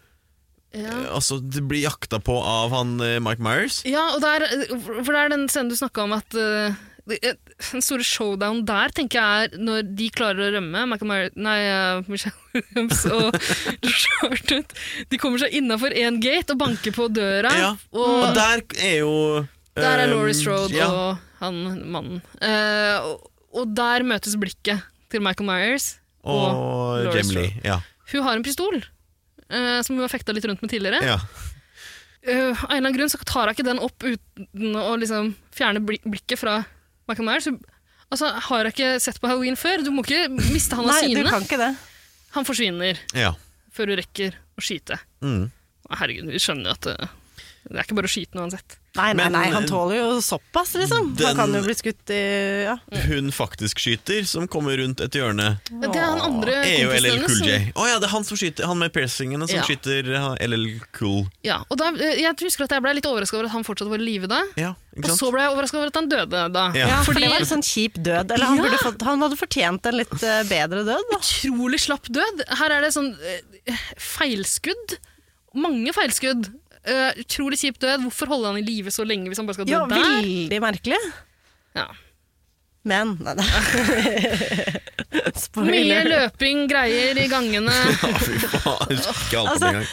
Ja.
Eh, altså, det blir jakta på av han eh, Mike Myers.
ja, og der, for det er den scenen du snakka om at eh, det- den store showdown der tenker jeg er når de klarer å rømme. Michael Myers, nei, eh, Michelle Williams og Josh Hartnett. De kommer seg innafor én gate og banker på døra.
Ja,
Og,
Og der er jo eh,
Der er Laurie Strode
ja,
og han mannen. Eh, og, og der møtes blikket til Michael Myers. og
og
Laurie
Jamie Lee. Ja,
Hun har en pistol, eh, som hun har fekta litt rundt med tidligere.
ja.
Eh, av en eller annen grunn så tar hun ikke den opp uten å liksom fjerne blik blikket fra Michael Myers. Hun- Altså, Har hun ikke sett på Halloween før? Du må ikke miste han av
Nei, du
syne.
kan ikke det.
Han forsvinner
ja.
før hun rekker å skyte.
Mm.
Herregud, vi skjønner jo at det, det er ikke bare å skyte den uansett.
Nei, nei,
Men-
nei, han tåler jo såpass, liksom.
Den-
Han kan jo bli skutt i ja.
Mm.
Hun faktisk skyter, som kommer rundt et hjørne.
Det er han andre
er jo
kompisen
LL
hennes.
Cool
som-
J. Å ja, det er han som skyter Han med piercingene som
Ja.
skyter eh, han- LL Cool.
Ja, og da, eh, jeg husker at jeg ble litt overraska over at han fortsatt var i live da.
Ja,
Og
ikke sant?
så ble jeg overraska over at han døde da.
Ja.
ja, for
Fordi
det var en sånn kjip død. Eller han, burde fått, han hadde fortjent en litt eh, bedre død. Da.
utrolig slapp død. Her er det sånn eh, feilskudd. Mange feilskudd. Eh, utrolig kjip død. Hvorfor holde han i live så lenge hvis han bare skal dø
Ja,
der?
veldig merkelig.
Ja.
Men nei, nei.
Mye
Spoiler.
løping, greier i gangene.
Ja, fy faen. Jeg husker Ikke alt
Altså,
på en gang.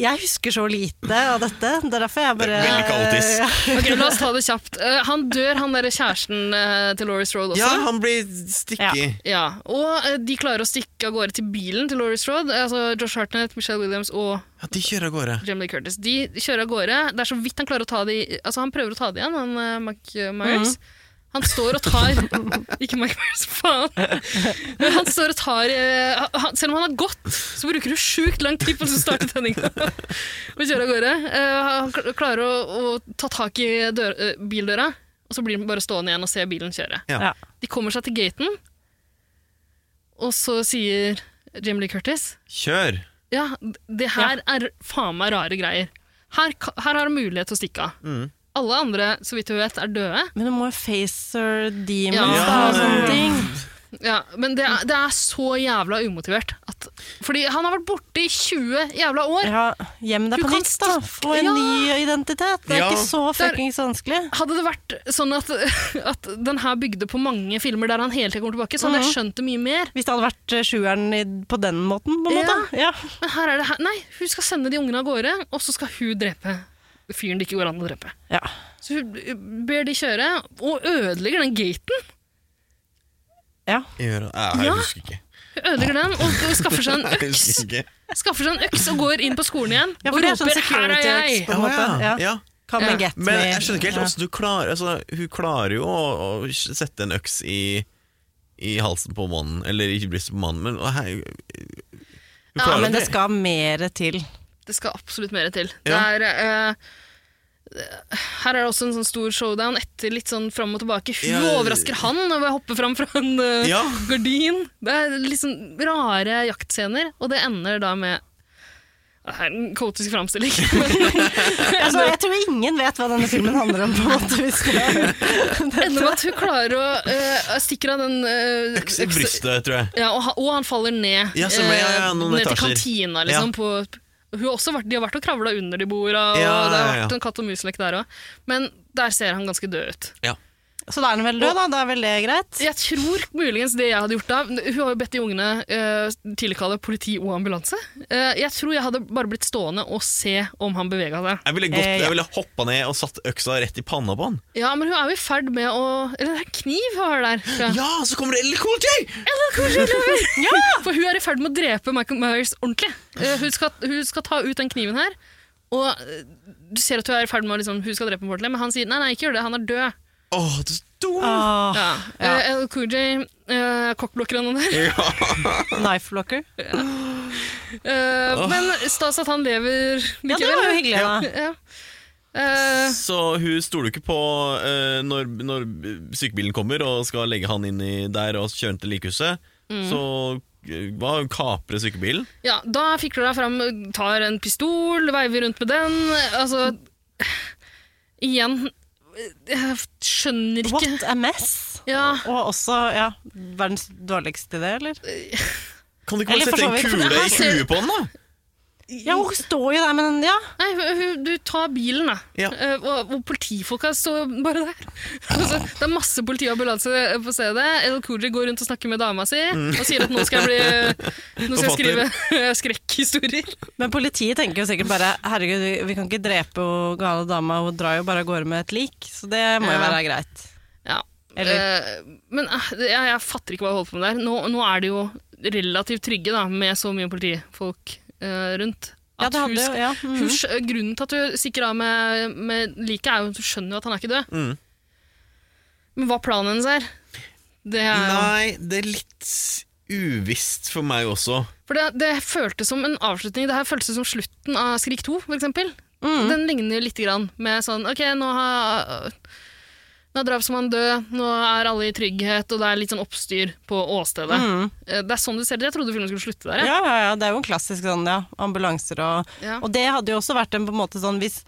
Jeg husker så lite av dette. Det er derfor jeg bare
Veldig kaotisk.
Ok, La oss ta det kjapt. Eh, han dør, han derre kjæresten eh, til Laurie Strode også.
Ja, han blir stikkig.
Ja, Og eh, de klarer å stikke av gårde til bilen til Laurie Strode. Altså Josh Hartnett, Michelle Williams og
Ja, de kjører av gårde.
Jamie Lee Curtis. De kjører av gårde. Det er så vidt han klarer å ta de Altså, han prøver å ta de igjen, han eh, Mike
Mhm.
Myers. Han står og tar Ikke Mike Myers, faen! Men han står og tar eh, han, Selv om han har gått, så bruker du sjukt lang tid på å starte tenninga og kjøre av gårde. Eh, han kl- klarer å, å ta tak i dør, eh, bildøra, og så blir han bare stående igjen og se bilen kjøre.
Ja.
Ja.
De kommer seg til gaten, og så sier Jamie Lee Curtis
Kjør!
ja, det her er faen meg rare greier. Her, ka- her har han mulighet til å stikke av. Alle andre, så vidt vi vet, er døde.
Men du må jo face her demons
Ja.
da, og sånne ting.
Ja, men det er, det er så jævla umotivert. At, fordi han har vært borte i 20 jævla år.
Ja, gjem deg
Du
på
kan
nytt, da. Få en
Ja.
ny identitet. Det er
Ja.
ikke så
Der-
fuckings vanskelig.
Hadde det vært sånn at, at den her bygde på mange filmer der han hele tiden kommer tilbake, så hadde jeg skjønt det mye mer.
Hvis det hadde vært eh, sjueren i, på den måten, på
Ja.
en måte. Ja.
Men her er det her. Nei, hun skal sende de ungene av gårde, og så skal hun drepe fyren det ikke går an å drepe.
Ja.
Så hun ber de kjøre, og ødelegger den gaten.
ja.
Gjør, ja, jeg
Ja.
husker ikke.
Hun ødelegger den, og, og skaffer seg en
Jeg
øks.
husker ikke.
skaffer seg en øks og går inn på skolen igjen
Ja,
og
for det er sånn
roper 'her er jeg'!
security-øks. På en måte,
ja.
ja.
ja.
Come
Ja.
and get
Men
me.
jeg skjønner ikke helt
Ja.
hvordan du klarer altså, Hun klarer jo å, å sette en øks i, i halsen på mannen, eller ikke brystet på mannen, men å, hei, hun
Ja,
klarer
Ja, men
det.
det skal mer til.
Det skal absolutt mer til.
Ja.
Det er, eh, her er det også en sånn stor showdown etter litt sånn fram og tilbake. Hun
Ja, det-
overrasker han og jeg hopper fram fra en eh,
Ja.
gardin. Det er litt sånn rare jaktscener, og det ender da med Det er en kaotisk framstilling.
Altså, jeg tror ingen vet hva denne filmen handler om, på en måte. Hvis det
Enda med at hun klarer å eh, stikke av den eh,
Øks i
økse-
brystet, tror jeg.
Ja, og, han- og han faller ned.
Ja, stemmer, ja, ja,
eh,
noen
ned til
etasjer.
kantina, liksom. På, hun har også vært, de har vært og kravla under de borda, og det
Ja,
har
ja, ja.
vært en katt og mus-lek der òg. Men der ser han ganske død ut.
Så da er den vel død, da. Da er vel det greit?
Jeg tror muligens det jeg hadde gjort da Hun har jo bedt de ungene eh, tilkalle politi og ambulanse. Eh, jeg tror jeg hadde bare blitt stående og se om han bevega seg.
Jeg ville, gått,
Eh, ja.
jeg ville hoppa ned og satt øksa rett i panna på han.
Ja, men hun er jo i ferd med å Eller det er kniv hun har der. tror jeg.
Ja, så kommer det LL Cool J!
For hun er i ferd med å drepe Michael Myers ordentlig. Eh, hun, skal, hun skal ta ut den kniven her, og eh, du ser at hun er i ferd med å liksom, Hun skal drepe ham ordentlig, men han sier nei, nei, ikke gjør det, han er død.
Åh, det er så dumt!
Åh,
Ja.
ja.
Eh, El Cool-J, eh, cockblocker han der.
Knife blocker.
Eh, Men stas at han lever
Ja, det var jo
likevel.
hyggelig, da.
Ja. Eh,
Så hun stoler ikke på eh, når, når sykebilen kommer og skal legge han inn i der og kjøre han til likehuset.
Mm.
Så eh, hva, hun kaprer sykebilen.
ja, da fikler hun fram, tar en pistol, veiver rundt med den. Altså Igjen eh, Jeg skjønner ikke
What a mess.
Ja,
Og også ja, verdens dårligste idé, eller?
Kan du ikke bare
Eller for
sette
så
en
vidt, for
kule
her
i
ser-
huet på han, da?
Ja, hun står jo der, men ja.
Nei, hu- hu- du tar bilen, da.
Ja.
Eh, og, og politifolka står bare der. Altså, det er masse politi og ambulanse eh, på stedet. El Koji går rundt og snakker med dama si og sier at nå skal jeg, bli, nå skal jeg skrive
Mm. Forfatter.
skrekkhistorier.
Men politiet tenker jo sikkert bare herregud, vi, vi kan ikke drepe hun gale dama, hun drar jo bare av gårde med et lik. Så det må jo
Ja.
være greit.
Ja.
Eller-
Eh, men eh, jeg, jeg fatter ikke hva jeg holder på med der. Nå, nå er de jo relativt trygge da, med så mye politifolk eh, rundt.
Ja, det
hun
hadde jo,
sk-
ja.
hun
Mhm.
skj- grunnen til at hun stikker av med, med liket, er jo at hun skjønner jo at han er ikke død.
Mm.
Men hva planen hennes er, det er jo
Nei, det er litt uvisst for meg også.
For det, det føltes som en avslutning. Det her føltes som slutten av Skrik 2, for eksempel.
Mm.
Den ligner litt grann med sånn Ok, nå har nå er drapsmannen død, nå er alle i trygghet, og det er litt sånn oppstyr på åstedet. Eh, Det er sånn du ser det. Jeg trodde filmen skulle slutte der.
Mm. Ja,
jeg.
ja, ja, det er jo en klassisk sånn, ja. Ambulanser og
Ja.
Og det hadde jo også vært en på en måte sånn hvis,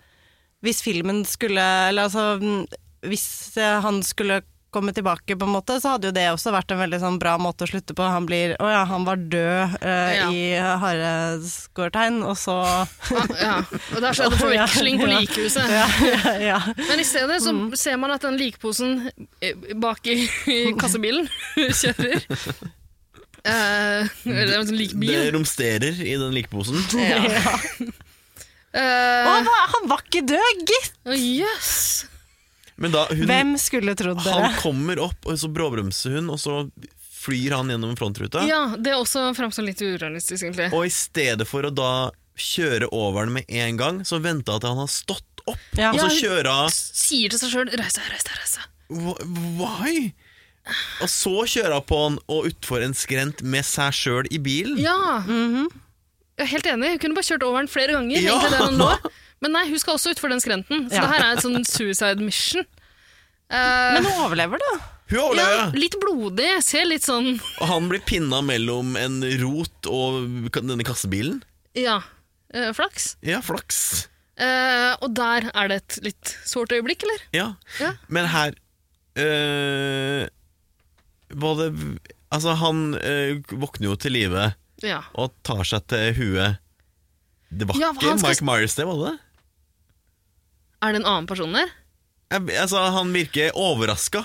hvis filmen skulle Eller altså mm, Hvis eh, han skulle komme tilbake, på en måte, så hadde jo det også vært en veldig sånn bra måte å slutte på. Han blir Å ja, han var død eh,
Ja.
i hareskårtegn, og så
Ah, Ja. Og der skjedde
Ja,
forveksling på
ja.
likhuset.
ja, Mm. ja, ja.
Men i stedet så ser man at den likposen eh, bak i, i kassebilen kjører. Eh, eller en sånn likbil.
Det romsterer i den likeposen.
Ja. Eh,
Å, han var- han var ikke død, gitt!
Å, Jøss!
Men da hun
Hvem skulle trodd dere?
Han kommer opp, og så bråbremser hun, og så flyr han gjennom frontruta.
Ja, det er også framstår litt urealistisk, egentlig.
Og i stedet for å da kjøre over den med en gang, så venta jeg til han har stått opp,
Ja.
og
Ja,
så
hun-
kjøre av
Sier til seg sjøl 'reis deg, reis deg', reis deg.
Wh- Why? Og så kjøre av på han og utfor en skrent med seg sjøl i bilen.
Ja! Jeg er helt enig. Hun kunne bare kjørt over den flere ganger.
Ja.
egentlig der hun lå. Men nei, hun skal også utfor den skrenten, så
Ja.
det her er et sånn suicide mission. Eh,
Men hun overlever, da.
Hun
ja,
overlever,
litt blodig. Ser litt sånn
og han blir pinna mellom en rot og ka- denne kassebilen.
Ja. eh, flaks.
Ja, flaks.
Eh, og der er det et litt sårt øyeblikk, eller?
Ja.
Ja.
Men her øh, Var det Altså, han øh, våkner jo til live.
Ja.
og tar seg til huet. Det var
Ja,
ikke
han skal-
Mike Myers, det var det?
Er det en annen person der?
Jeg, altså, han virker overraska.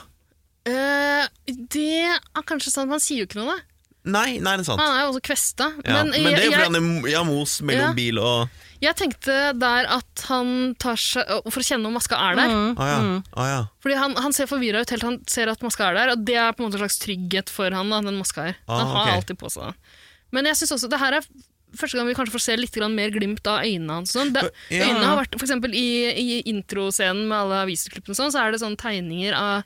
Eh, det er kanskje sant. Man sier jo ikke noe, da.
Nei, nei, det er sant.
Han er jo også kvesta.
Ja. Men,
Ah, Men,
det er
jeg,
fordi
jeg,
han er mo- ja, mos mellom
Ja.
bil og
jeg tenkte der at han tar seg og For å kjenne om maska er der.
Mm.
Å Ah, ja.
Mm.
å ja.
Fordi han, han ser forvirra ut helt til han ser at maska er der, og det er på en måte en slags trygghet for han. da, den maska her.
Ah,
han har
ok.
alltid på seg den. Men jeg synes også, det her er første gang vi kanskje får se litt grann mer glimt av øynene hans. Sånn. Det,
Ja.
Øynene har vært, for eksempel i, i introscenen med alle avisklippene, og sånn, så er det sånne tegninger av,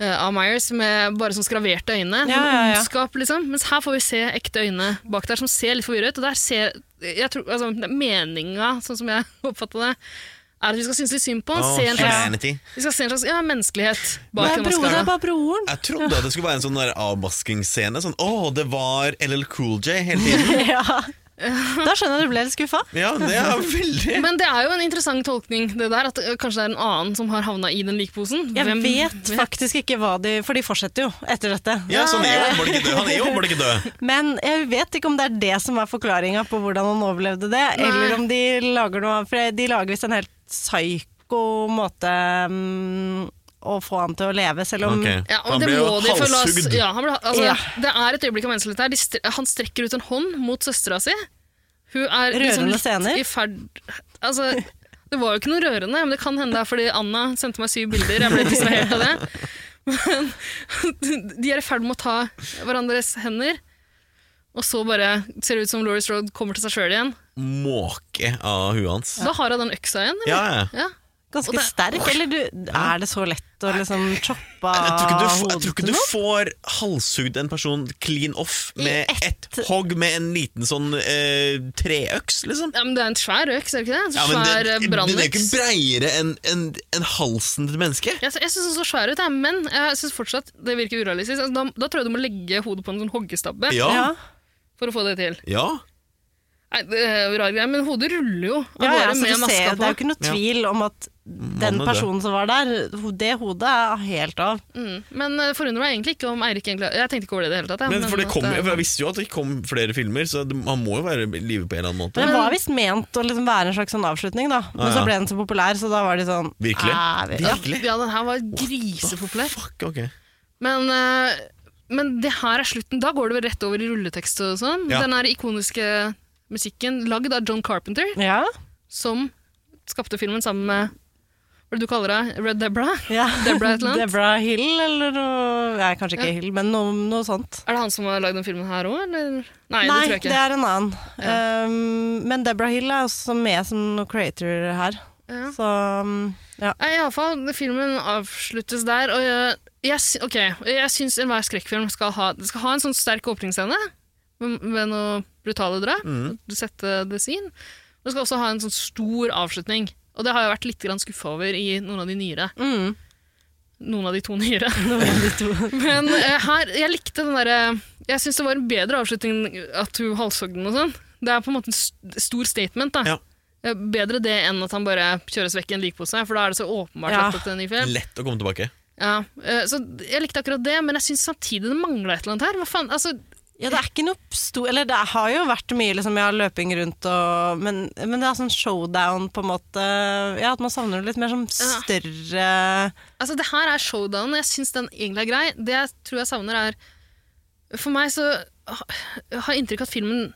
eh, av Myers med bare sånn skraverte øyne.
Ja,
sånn
ja, ja.
ondskap, liksom. Mens her får vi se ekte øyne bak der som ser litt forvirra ut. Og der ser, jeg tror, altså, meninga, sånn som jeg oppfatter det, er at vi skal synes litt synd på han.
Å,
se en slags
humanity.
vi skal se en slags ja, menneskelighet bak den
Det er broren, det er
maskara.
bare broren.
Jeg trodde at det skulle være en sånn der avmaskingsscene. Sånn, å, det var LL Cool J hele tiden.
Ja. Da skjønner jeg du ble litt skuffa.
Ja, det er veldig
Men det er jo en interessant tolkning, det der. At eh, kanskje det er en annen som har havna i den likposen.
Jeg vet faktisk ikke hva de For de fortsetter jo etter dette.
Ja, så han er jo åpenbart ikke død. Han er jo åpenbart ikke død.
Men jeg vet ikke om det er det som er forklaringa på hvordan han overlevde det, eller om de lager noe For de lager visst en helt psyko måte mm, å få han til å leve, selv om
Ok.
Um, Ja, og
han
det
ble jo
må de for la oss-
halshugd.
Ja, han ble, altså,
Ja.
Det er et øyeblikk av menneskelighet her. De stre han strekker ut en hånd mot søstera si. Hun er liksom
Rørende
litt
scener.
i ferd Altså, det var jo ikke noe rørende, men det kan hende det er fordi Anna sendte meg syv bilder. Jeg ble distrahert av det. Men de er i ferd med å ta hverandres hender, og så bare ser det ut som Laurie Strode kommer til seg sjøl igjen.
Måke av huet hans.
Da har hun den øksa igjen. eller?
Ja, ja.
Ja. Og
Ganske
det-
sterk, eller du, er det så lett å liksom choppe
Jeg tror, ikke du,
av
f- jeg
hodet
tror ikke
til
du
noen?
får halshugd en person clean off
I
med ett
ett-
hogg med en liten sånn eh, treøks, liksom.
ja, men det er en svær øks, er det ikke det? En
Ja, men
svær eh,
den, den er jo ikke
brannøks.
breiere enn enn- enn halsen til et menneske.
Jeg, jeg syns den så svær ut, jeg, men jeg syns fortsatt det virker urealistisk. Altså, da, da tror jeg du må legge hodet på en sånn hoggestabbe
Ja.
Ja.
ja.
for å få det til. Nei, det er jo rar greie, men hodet ruller jo av
Ja, ja,
gårde
så
med
du ser,
maska
det er
på.
jo ikke noe
Ja. Mm,
tvil om at den
er død.
personen som var der, ho- det hodet er helt av.
Mm. Men det forundrer meg egentlig ikke om Eirik egentlig Jeg tenkte ikke over det i det hele tatt. jeg,
Men for, det
at eh,
kom,
det-
for Jeg visste jo at det kom flere filmer, så det, han må jo være i live på en eller annen måte.
Men
Men-
den var visst ment å liksom være en slags sånn avslutning, da. Men
Ah, ja.
så ble den så populær, så da var de sånn
Virkelig?
"Æ, vi- ja.
Virkelig?
Ja, den her var grisepopulær.
Fuck, ok.
Men, eh, men det her er slutten. Da går det vel rett over i rulletekst og sånn.
Ja.
Den her ikoniske musikken, lagd av John Carpenter,
Ja.
som skapte filmen sammen med Hva er det du kaller det? Red Deborah?
ja.
Debra et eller annet?
Debra Hill, eller noe Nei, kanskje ikke Hill, men noe, noe sånt.
Er det han som har lagd den filmen her òg, eller? Nei, det tror
Nei,
jeg
det
ikke.
er en annen. Um, men Debra Hill er også med som noe creator her.
Ja.
Så um, ja.
Nei, i alle fall, filmen avsluttes der, og jeg, jeg, sy- ok, jeg syns enhver skrekkfilm skal ha, det skal ha en sånn sterk åpningsscene med, med noe brutale drap. Du setter det sin. Det skal også ha en sånn stor avslutning. Og det har jeg vært litt grann skuffa over i noen av de nyere.
Mm.
Noen av de to nyere.
Nå var de to.
Men eh, her, jeg likte den derre Jeg syns det var en bedre avslutning enn at hun halshogde den og sånn. Det er på en måte en st stor statement, da.
Ja.
Eh, Bedre det enn at han bare kjøres vekk i en likpose, for da er det så åpenbart
Ja.
lagt opp til en ny film.
Lett å komme tilbake.
Ja, eh, så jeg likte akkurat det, men jeg syns samtidig det mangla et eller annet her. Hva faen, altså,
Ja, det er ikke noe stor Eller det har jo vært mye liksom, ja, løping rundt og men, men det er sånn showdown, på en måte. Ja, at man savner det litt mer som
Ja.
større
altså, det her er showdown, og jeg syns den egentlig er grei. Det jeg tror jeg savner, er For meg så ha- jeg har jeg inntrykk av at filmen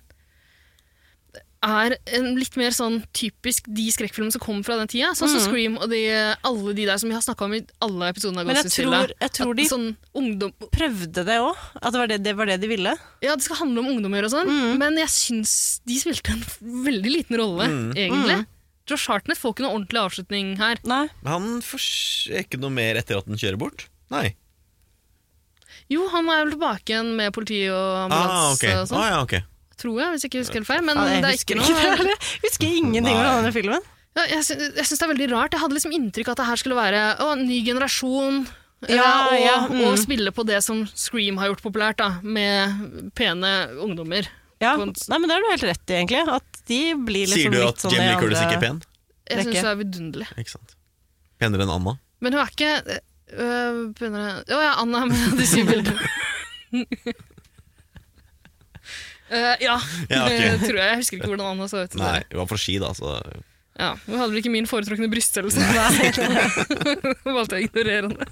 er en litt mer sånn typisk de skrekkfilmene som kom fra den tida. Sånn
Mm.
som Scream og de, alle de der som vi har snakka om i alle episodene av
Men jeg
Ghostfjella.
tror- jeg tror de-
Sånn ungdom,
Prøvde det òg? At det var det, det var det de ville?
Ja, det skal handle om ungdommer og sånn,
Mm.
men jeg syns de spilte en f- veldig liten rolle,
Mm.
egentlig.
Mm.
Josh Hartnett får ikke noe ordentlig avslutning her.
Nei.
Han fors- er ikke noe mer etter at han kjører bort? Nei.
Jo, han er vel tilbake igjen med politi og
Ah,
ambulanse
ok.
og sånn,
Ah, ja, ok.
tror jeg, hvis jeg ikke husker helt feil. Men
Ja, jeg
det er ikke
husker
noe
ikke det heller. Jeg Husker ingenting om
Nei.
denne filmen.
ja, Jeg, sy- jeg syns det er veldig rart. Jeg hadde liksom inntrykk av at det her skulle være å, en ny generasjon. eh,
Ja,
og,
ja, mm.
og spille på det som Scream har gjort populært, da, med pene ungdommer.
Ja.
På en-
Nei, men det har du helt rett i, egentlig. At de blir liksom
Sier du
litt
at
sånn i
Jamie Lee Curtis
andre-
ikke er pen?
Jeg
Rekke.
syns det er vidunderlig.
Ikke sant. Penere enn Anna.
Men hun er ikke øh, begynner jeg- Å ja, Anna med de syv bildene. Eh, ja,
Ja, ok.
det tror jeg. Jeg husker ikke hvordan Anna så ut.
Nei, hun var fra Ski, da. Så.
Ja, hun hadde vel ikke min foretrukne bryststørrelse. Hun valgte jeg å ignorere det.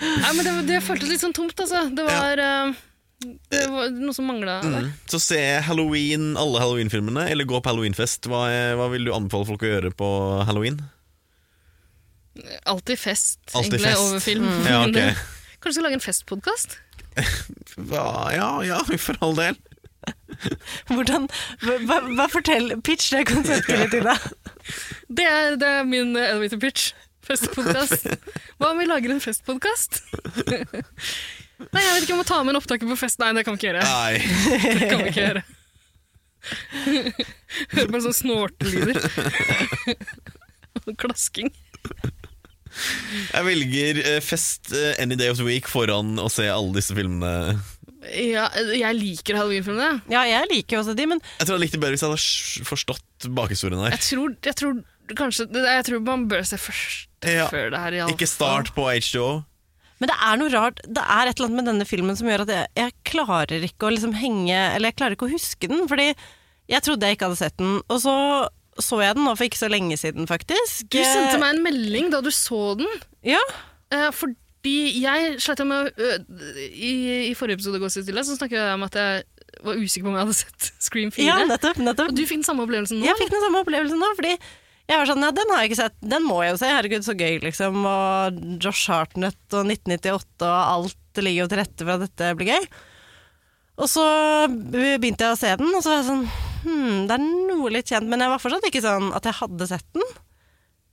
Nei, men det, det føltes litt sånn tomt, altså. Det var, eh, det var noe som mangla der.
Mm. så se Halloween, alle Halloween-filmene, eller gå på Halloweenfest. Hva, er- hva vil du anbefale folk å gjøre på halloween?
Alltid fest,
Alltid
egentlig,
fest. Mm.
over film.
Ja, ok.
Kanskje vi skal lage en festpodkast?
Hva, ja, ja, for all del.
Hvordan hva- hva, hva fortell Pitch det konseptet litt, Ida.
Det er, det er min eh, elevator pitch. Festpodkast. Hva om vi lager en festpodkast? Nei, jeg vet ikke om å ta med en opptaker på fest. Nei, det kan vi ikke gjøre.
Nei.
Det kan vi ikke gjøre. Hører bare sånn snortelyder. Og Klasking.
Jeg velger eh, fest eh, any day of the week foran å se alle disse filmene
Ja, jeg liker halloweenfilmene.
Ja, jeg liker jo også de, men
Jeg tror jeg hadde likt det bedre hvis jeg hadde sj- forstått bakhistorien her.
Jeg tror, jeg tror kanskje det- Jeg tror man bør se først
Ja.
før det her. i alle
Ikke
fall.
start på H2O.
Men det er noe rart, det er et eller annet med denne filmen som gjør at jeg, jeg klarer ikke å liksom henge, eller jeg klarer ikke å huske den, fordi jeg trodde jeg ikke hadde sett den, og så så jeg den nå for ikke så lenge siden faktisk.
Du sendte meg en melding da du så den.
Ja,
Eh, fordi jeg slet jo med å- ø, i, I forrige episode av Gå stille, så snakket jeg om at jeg var usikker på om jeg hadde sett Scream 4.
ja nettopp, nettopp.
og du fikk den samme opplevelsen nå?
Jeg fikk den samme opplevelsen nå, fordi jeg var sånn, ja, den har jeg ikke sett, den må jeg jo se, herregud, så gøy liksom, og Josh Hartnett og 1998 og alt ligger jo til rette for at dette blir gøy. Og så begynte jeg å se den, og så var jeg sånn, hmm, det er noe litt kjent, men jeg var fortsatt ikke sånn at jeg hadde sett den.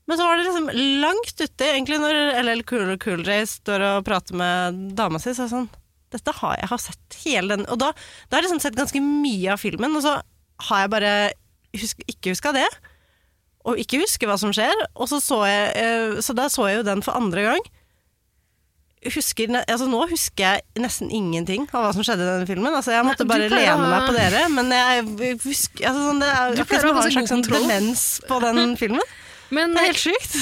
Men så var det liksom langt ute, egentlig når LL Cool Cool Ray står og prater med dama si, så er jeg sånn, dette har jeg, jeg har sett hele den, og da, da har jeg liksom sett ganske mye av filmen, og så har jeg bare husk, ikke huska det, og ikke husker hva som skjer, og så så jeg, eh, så da så jeg jo den for andre gang. Husker, ne- altså nå husker jeg nesten ingenting av hva som skjedde i denne filmen. Altså jeg måtte
Nei,
bare
du pleier å
lene
ha-
meg på dere, men jeg husker altså sånn, Det er
Du
akkurat
pleier å
som
ha
å ha en
ganske
slags
god
sånn
kontroll.
demens på den filmen.
Men
Det er helt sjukt.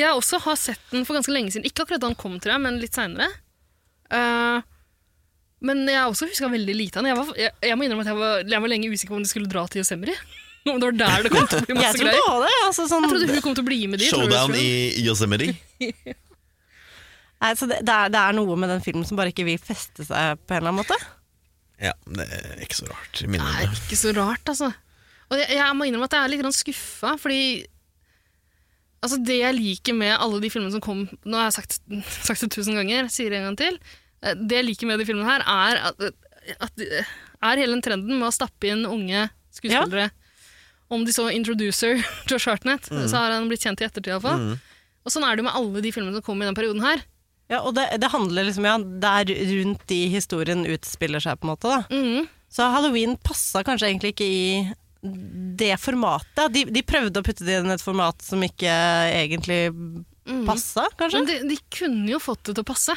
jeg også har sett den for ganske lenge siden. Ikke akkurat da den kom, tror jeg, men litt seinere. men jeg har også huska veldig lite av den. Jeg, var, jeg, jeg må innrømme at jeg var, jeg var lenge usikker på om de skulle dra til Yosemite. Om det var der det kom til å bli
Jeg
masse
trodde
greier.
òg det. Altså sånn,
Jeg trodde hun kom til å bli med dit.
Showdown i Yosemite.
nei, så det, det, er, det er noe med den filmen som bare ikke vil feste seg på en eller annen måte.
Ja, det er ikke så rart. i mine
Det
øyne.
er ikke så rart, altså. Og jeg, jeg må innrømme at jeg er litt skuffa, fordi altså det jeg liker med alle de filmene som kom Nå har jeg sagt, sagt det tusen ganger, sier det en gang til. Eh, Det jeg liker med de filmene her, er, at, at, er hele den trenden med å stappe inn unge skuespillere. Om de så introducer Josh Hartnett, så har han blitt kjent i ettertid iallfall. Og sånn er det jo med alle de filmene som kom i den perioden her.
Ja, og det, det handler liksom, ja, det er rundt de historien utspiller seg, på en måte. da.
Mhm.
Så halloween passa kanskje egentlig ikke i det formatet. De, de prøvde å putte det inn i et format som ikke egentlig passa, kanskje.
mm. Men de, de kunne jo fått det til å passe.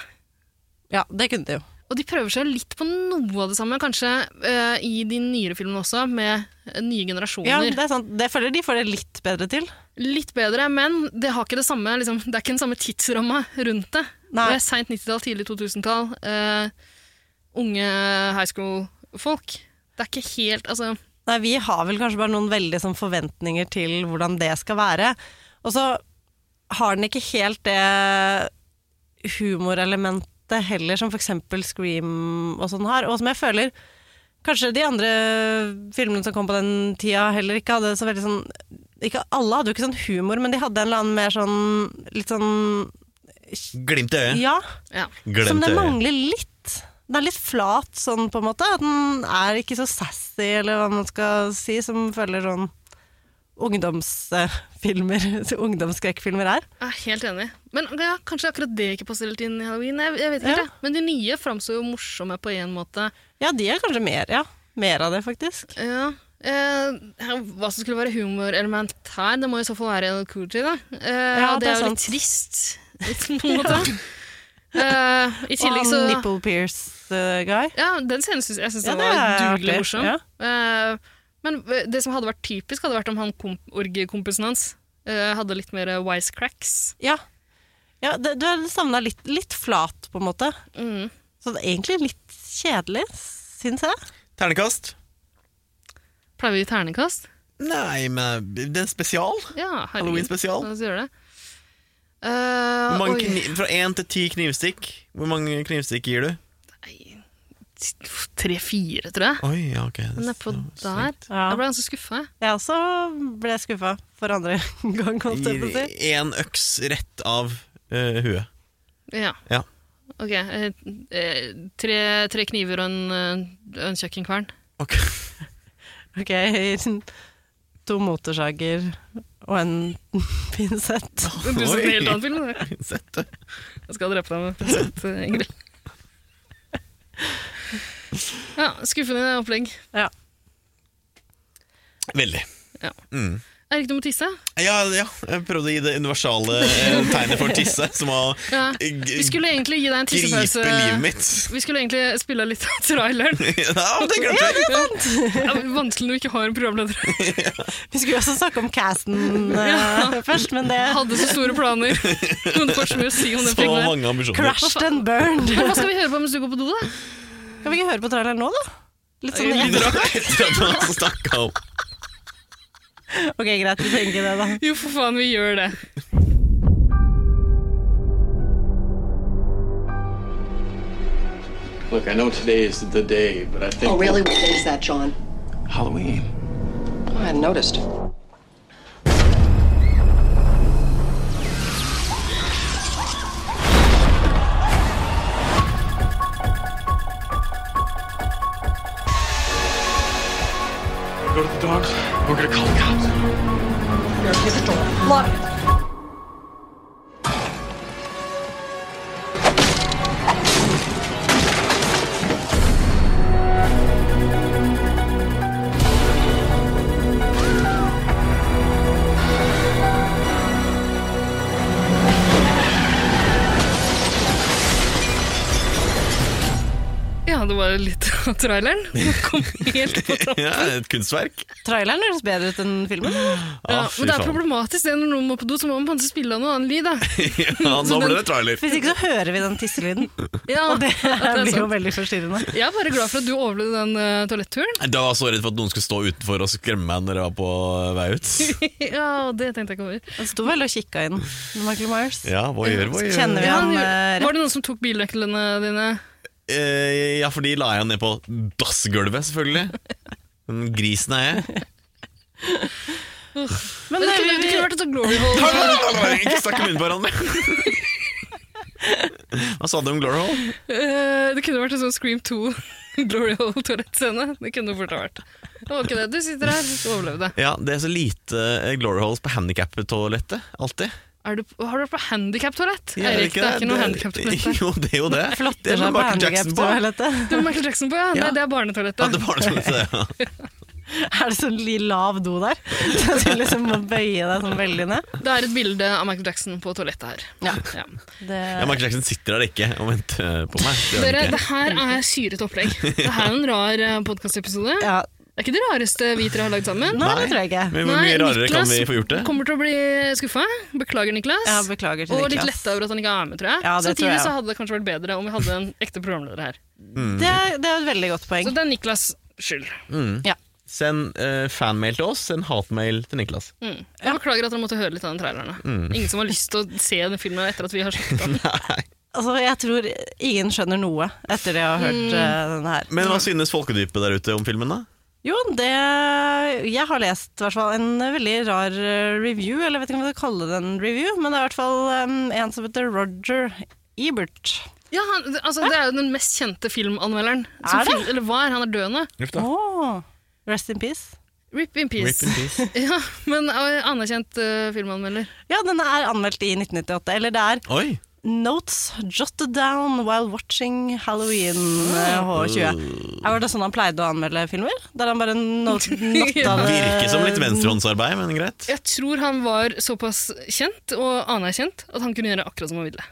Ja, det kunne de jo.
Og de prøver seg litt på noe av det samme, kanskje eh, i de nyere filmene også, med eh, nye
Ja,
generasjoner.
det er sant. Det føler de får det litt bedre til.
Litt bedre, men det, har ikke det, samme, liksom, det er ikke den samme tidsramma rundt det.
Nei.
Det er seint 90-tall, tidlig 2000-tall. eh, unge high school-folk. Det er ikke helt Altså,
Nei, vi har vel kanskje bare noen veldig sånn forventninger til hvordan det skal være. Og så har den ikke helt det humorelementet heller, som for eksempel Scream og sånn har, og som jeg føler kanskje de andre filmene som kom på den tida heller ikke hadde så veldig sånn ikke, Alle hadde jo ikke sånn humor, men de hadde en eller annen mer sånn litt sånn
Glimt i øyet.
Ja, sånn
ja.
som
Glemt
det
øyet.
mangler litt. Den er litt flat sånn på en måte. at Den er ikke så sassy, eller hva man skal si, som føler sånn ungdomsfilmer, ungdomsskrekkfilmer er.
Jeg er helt enig. Men ja, Kanskje akkurat det ikke passer helt inn i halloween. Jeg, jeg vet ikke
Ja.
det. Men de nye framstår jo morsomme på én måte.
Ja, de er kanskje mer, ja. Mer av det, faktisk.
Ja. eh, hva som skulle være humorelement her, det må i så fall være en cool da. Eh,
Ja,
og det,
det er
er jo
sant.
litt trist, på en måte. Eh, I
Og
tillegg
han
så
Nipple eh, Pierce-guy.
Ja, den scenen syns jeg synes
Ja,
den
det er
var dugelig
artig,
morsom.
ja.
Eh, men eh, det som hadde vært typisk, hadde vært om han kom- orgiekompisen hans eh, hadde litt mer wisecracks.
Ja. ja det, du har savna litt, litt flat, på en måte.
Mm.
Så det er egentlig litt kjedelig, syns jeg.
Ternekast?
Pleier vi å gi terningkast?
Nei, men det er en spesial.
Ja, herregud.
Halloween-spesial.
La oss gjøre det. Eh,
Hvor mange
oi.
kni fra én til ti knivstikk. Hvor mange knivstikk gir du?
Nei, Tre-fire, tror jeg.
Oi, ja, ok. Det er
Nedpå
så
der.
strengt.
Ja.
Jeg ble ganske skuffa.
Jeg også ble skuffa for andre gang, holdt jeg på å
Gir
si.
én øks rett av eh, huet.
Ja.
Ja.
Ok. eh, eh, Tre, tre kniver og en, eh, en kjøkkenkvern.
Ok.
Ok, to motorsager og en pinsett.
Du ser en sånn helt annen film. du.
Sett det.
Jeg skal drepe deg med pinsett, eh, Ingrid. Ja, skuffende opplegg.
Ja.
Veldig.
Ja.
Mm.
Eh, Er det ikke noe med tisse?
Ja, ja, jeg prøvde å gi det universale eh, tegnet for tisse, som var
Ja.
g-
Vi skulle egentlig gi deg en
gripe
tissepause.
livet mitt.
Vi skulle egentlig spille litt av traileren.
ja, det glemte jeg!
Ja, men vanskelig når du ikke har en programleder.
Vi skulle jo også snakke om casten eh,
Ja.
først, men det
Hadde så store planer. Kunne fått så mye å si om den
Så
filmen. der.
mange ambisjoner.
crashed and burned.
Men Hva skal vi høre på mens du går på do, da?
Kan vi ikke høre på traileren nå, da? Litt sånn
Litt
etter.
Etter at man snakket om
Ok, greit, vi trenger ikke det, da.
Jo, for faen, vi gjør det.
Look, I know today is the day, but I think
Oh, really? What day is that, John? Oh,
Halloween.
I hadn't noticed.
Go to the dogs. We're gonna call the cops.
Here, give the door. Lock it.
Ja, det var litt av traileren. Den Kom helt på trappen.
ja, et kunstverk.
Traileren høres bedre ut enn filmen.
Ja,
Ah, fy
men det er
faen.
problematisk det når noen må på do, så må man kanskje spille av noe annet lyd. da.
Ja, nå ble det trailer.
Hvis ikke så hører vi den tisselyden.
Ja,
Og det
at det er
blir jo
sant.
veldig forstyrrende.
Jeg er bare glad for at du overlevde den eh, toaletturen.
Da var jeg så redd for at noen skulle stå utenfor og skremme meg når jeg var på eh, vei ut.
Ja, det tenkte jeg ikke over.
Han sto vel og kikka inn, Michael Myers.
Ja, hva gjør, hva gjør?
Kjenner vi
Ja,
han eh,
var det noen som tok bilnøklene dine?
Eh, ja, for de la jeg ned på dassgulvet, selvfølgelig. Den grisen er jeg.
Men det, kunne, det kunne vært et sånt glory hole.
Ikke snakk munnen på hverandre! Hva sa du om Glory Hall?
Eh, det kunne vært en sånn Scream 2 glory hole-toalettscene. Det kunne det fort ha vært. Det var ikke det. Du sitter her, du overlevde.
Ja, det er så lite eh, Glory Halls på handikap-toalettet. Alltid.
Er du, har du vært på handikap-toalett?
Ja,
Eirik, det er ikke noe handikap-toalett.
Jo, det er jo det. Det
flotter
er
sånn
seg på
Michael Jackson på.
handicap-toalettet?
Det var Michael Jackson på, ja.
Ja.
Nei, det er
Ja, det
barnetoalettet.
var det som det, ja.
Er det sånn li- lav do der? Så du liksom må bøye deg sånn veldig ned?
Det er et bilde av Michael Jackson på toalettet her. Ja.
Det,
ja, Michael Jackson sitter der ikke og venter eh, på meg. Det gjør
Dere,
han ikke.
det her er syret opplegg. Det her er en rar eh, podcastepisode.
ja.
Det er ikke det rareste vi tre har lagd sammen.
Nei, det tror jeg ikke.
Men hvor mye
Nei,
rarere kan
Niklas
vi få gjort det?
Kommer til å bli skuffa. Beklager, Niklas.
Ja, beklager til
og
Niklas.
litt letta over at han ikke er med, tror jeg.
Ja, det tror
Samtidig
jeg.
så hadde det kanskje vært bedre om vi hadde en ekte programleder her.
Det, er- det er et veldig godt poeng.
Så det er Niklas skyld.
Ja.
Send eh, fanmail til oss, send hatmail til Niklas.
Mm. Jeg beklager at dere måtte høre litt av den traileren. da.
Mm.
Ingen som har lyst til å se den filmen etter at vi har snakket om den.
Altså, jeg tror ingen skjønner noe etter det jeg har hørt
Mm.
eh, denne her.
Men hva synes folkedypet der ute om filmen, da?
Jo, det Jeg har lest i hvert fall en veldig rar eh, review, eller jeg vet ikke om jeg skal kalle det en review, men det er i hvert fall em, en som heter Roger Ebert.
Ja, han, altså, det er jo den mest kjente filmanmelderen.
Er det?
film- eller hva er? Han er døende.
Åh, Rest in peace.
Rip in peace.
Rip in peace.
Ja, men eh, anerkjent eh, filmanmelder.
Ja, den er anmeldt i 1998. Eller det er
Oi!
Notes jotted down while watching Halloween eh, H20. Er var det sånn han pleide å anmelde filmer? Der han bare not notta det
Virker som litt venstrehåndsarbeid, men greit.
Jeg tror han var såpass kjent og anerkjent at han kunne gjøre akkurat som han ville.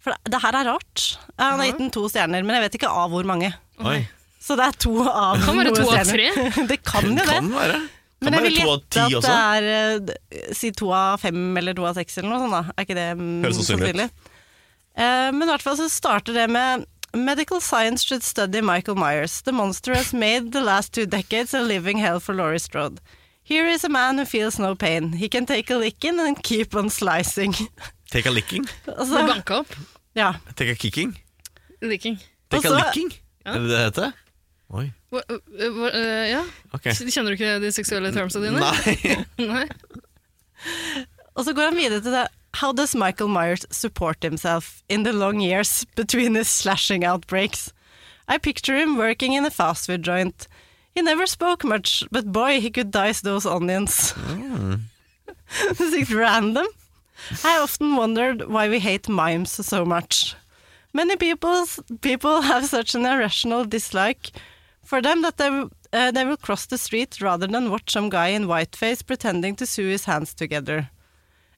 For det, det her er rart. Eh, Han har gitt den to stjerner, men jeg vet ikke av hvor mange.
Oi.
Så det er to av
kan være
noen
to av
stjerner. det kan jo
Det
det.
kan være. Kan
Men jeg
være
vil
to av
gjette
ti
at
også.
det er eh, d- Si to av fem eller to av seks eller noe sånt, da. Er ikke det mm,
Høres sannsynlig ut.
sannsynlig? Eh, men i hvert fall så starter det med Medical science should study Michael Myers. The monster has made the last two decades a living hell for Laurie Strode. Here is a man who feels no pain. He can take a licking and keep on slicing.
Take a licking.
Ble
altså,
banka opp.
ja.
Take a kicking.
Liking.
Take
Altså-
a licking. Er det det det heter? Oi.
Hva, eh, hva, eh, ja.
Ok.
Kjenner du ikke de seksuelle termsa dine?
Nei.
Nei.
Og så går han videre til det. How does Michael Myers support himself in the long years between his slashing outbreaks? I picture him working in a fast food joint. He never spoke much, but boy, he could dice those onions. Sikkert random. I often wondered why we hate mimes so much. Many people's, people have such an irrational dislike for them that they eh, they will cross the street rather than watch some guy in whiteface pretending to sew his hands together.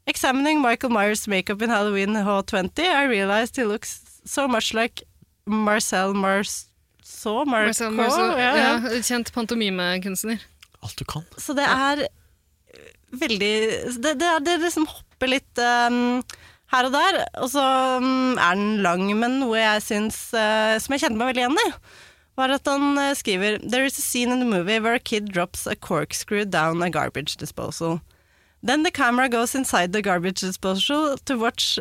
Examining Michael Myers' makeup in Halloween H20, I realized he looks so much like Marcel Marceau
Marcel
Marceau,
Marceau,
ja, ja.
ja, kjent pantomimekunstner.
Alt du kan.
Så det er eh, veldig Det, det, er- det liksom hopper litt ehm, her og der. Og så mm, er den lang, men noe jeg syns eh, som jeg kjente meg veldig igjen i, var at han eh, skriver There is a scene in the movie where a kid drops a corkscrew down a garbage disposal. Then the camera goes inside the garbage disposal to watch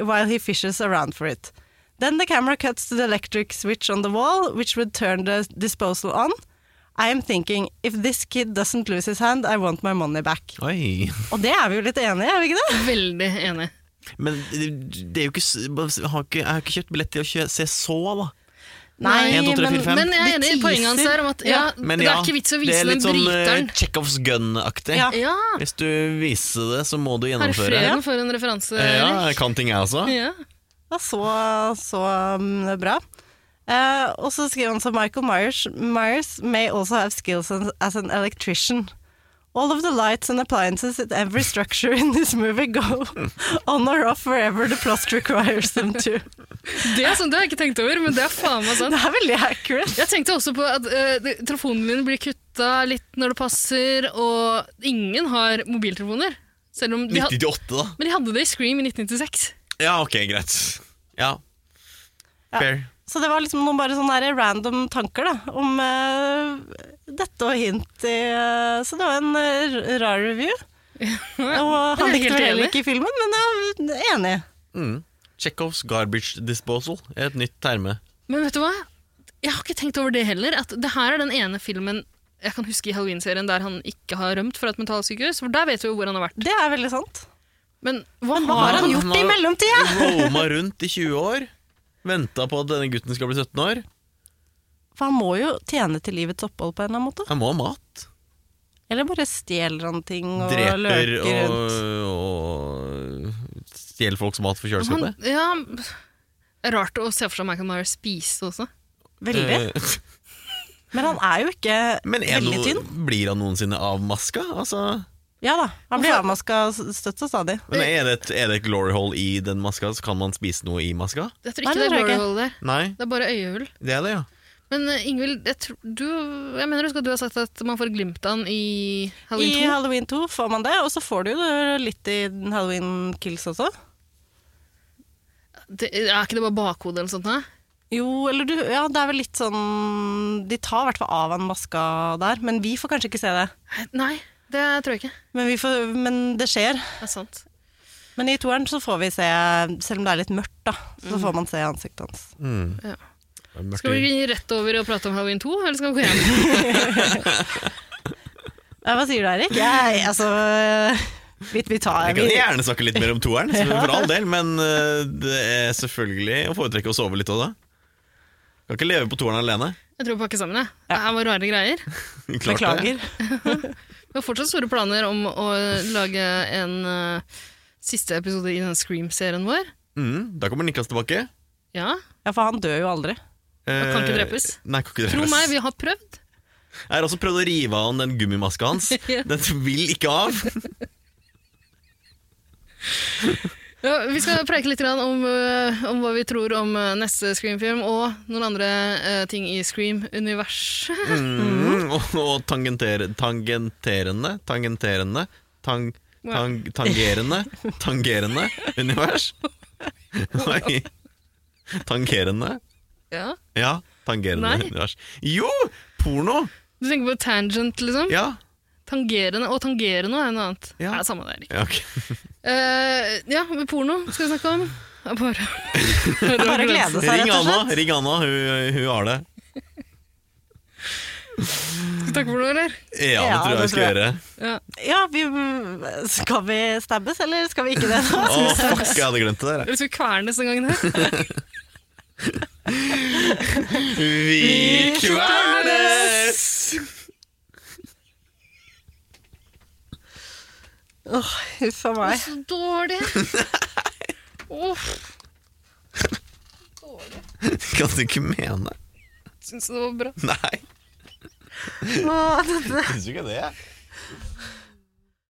while he fishes around for it. Then the camera cuts to the electric switch on the wall, which would turn the disposal on. I am thinking, if this kid doesn't lose his hand, I want my money back.
Oi.
Og det er vi jo litt enige i, er vi ikke det?
Veldig enig.
Men det er jo ikke, s- har ikke Jeg har ikke kjøpt billett til å kjø- se så, da.
Nei,
En, to, tre,
men-
fire, fem.
Men jeg er enig i
De
poenget hans
teaser.
her om at ja,
Men
det
ja,
er ikke vits å
det
vise
er
den
litt sånn
bryteren.
eh, Chekhovs gun-aktig.
Ja.
ja,
Hvis du viser det, så må du
herr
gjennomføre.
Freden for en referanse.
Eh,
Ja,
Erik.
jeg kan ting, jeg også.
Ja.
Ja, så, så um, bra. Eh, og så skriver han så Michael Myers, Myers may also have skills as, as an electrician. All of the lights and appliances at every structure in this movie go on or off wherever the plot requires them to.
Det er sånn, det har jeg ikke tenkt over, men det er faen meg sant.
Det er veldig accurate.
Jeg tenkte også på at eh, det- telefonen min blir kutta litt når det passer, og ingen har mobiltelefoner. Selv om de had,
1998, da.
men de hadde det i Scream i 1996.
Ja, ok, greit. Ja.
Ja.
Fair.
Så det var liksom noen bare sånne her random tanker da, om eh, dette og hint i eh, Så det var en eh, rar review. Og
jeg
han
er
likte
helt
vel heller
enig.
ikke filmen, men jeg er enig.
Mm. Chekhovs garbage disposal er et nytt terme.
Men vet du hva? Jeg har ikke tenkt over det heller. At det her er den ene filmen jeg kan huske i Halloween-serien der han ikke har rømt fra et mentalsykehus. For der vet vi jo hvor han har vært.
Det er veldig sant.
Men hva
Hva
har
har han
han
gjort i
har-
mellomtida?
Roma rundt i 20 år. Venta på at denne gutten skal bli 17 år.
For han må jo tjene til livets opphold på en eller annen måte.
Han må ha mat.
Eller bare stjeler han ting og
Dreper
løker
og, eh,
rundt.
og stjeler folks mat for
Han,
kjøleskapet.
ja, det er rart å se for seg Michael Myers spise også.
Veldig.
Eh,
Men han er jo ikke
Men er
veldig
noe,
tynn.
blir han noensinne avmaska? Altså,
Ja da, han blir avmaska støtt og stadig.
men er det, et, er det et glory hole i den maska, så kan man spise noe i maska?
Jeg tror
Nei,
ikke det
det tror
er
jeg ikke.
glory hole der.
Nei,
Det er bare øyehull.
det er det, ja.
Men eh, Ingvild, jeg, tror, du, jeg mener husk at du har sagt at man får glimt av han i
I
Halloween 2.
Halloween 2 får man det, og så får du jo det litt i Halloween Kills også.
Det, er ikke det bare bakhodet eller sånt? Nei?
Jo, eller du Ja, det er vel litt sånn De tar i hvert fall av han maska der, men vi får kanskje ikke se det.
Nei, det tror jeg ikke.
Men, vi får, men det skjer.
Det er sant.
Men i toeren så får vi se, selv om det er litt mørkt, da, så
Mm.
får man se ansiktet hans.
Skal vi gå rett over og prate om Halloween 2, eller skal vi gå hjem?
Ja, hva sier du, Eirik? Jeg, altså Vi, vi tar
Jeg kan
vi,
gjerne snakke litt mer om toeren, så for all del, men eh, det er selvfølgelig å foretrekke å sove litt òg, da. Kan ikke leve på toeren alene.
Jeg tror vi pakker sammen, jeg. Det her var rare greier.
Klart det.
Beklager.
Vi har fortsatt store planer om å lage en eh, siste episode i den Scream-serien vår.
Mm, da kommer Niklas tilbake.
Ja,
Ja, for han dør jo aldri.
Han kan ikke
Eh,
drepes.
Nei, kan ikke drepes.
tro meg, vi har prøvd.
Jeg har også prøvd å rive av den gummimaska hans.
Ja.
Den vil ikke av.
Ja, vi skal preike litt grann om, eh, om hva vi tror om eh, neste Scream-film, og noen andre eh, ting i Scream-universet.
Mm, og og tangenter, tangenterende Tangenterende tang, tang, Tangerende Tangerende univers. Oi. Tangerende.
Ja.
Ja, tangerende
Nei.
univers. Jo! Porno!
Du tenker på tangent, liksom?
Ja.
Tangerende og tangerende er noe annet.
Ja.
Ja. samme det, Erik.
ja ok.
Eh, ja, med porno skal vi snakke om. Ja, Bare,
Bare glede seg,
Ring
rett og
Anna,
slett.
ring Anna, hun, hun har det.
Skal vi takke for noe, eller?
Ja, det
Ja,
tror jeg
det
jeg skal
tror jeg.
gjøre.
Ja.
Ja, vi, skal vi stabbes, eller skal vi ikke det?
Å, fuck, jeg hadde glemt det der.
Eller skal vi kvernes den gangen her?
Vi kvernes!
Åh, Huff a meg.
Så dårlig! Uff,
Kan du ikke mene?
syns det var bra.
Nei.
Å, dette
Syns du ikke det?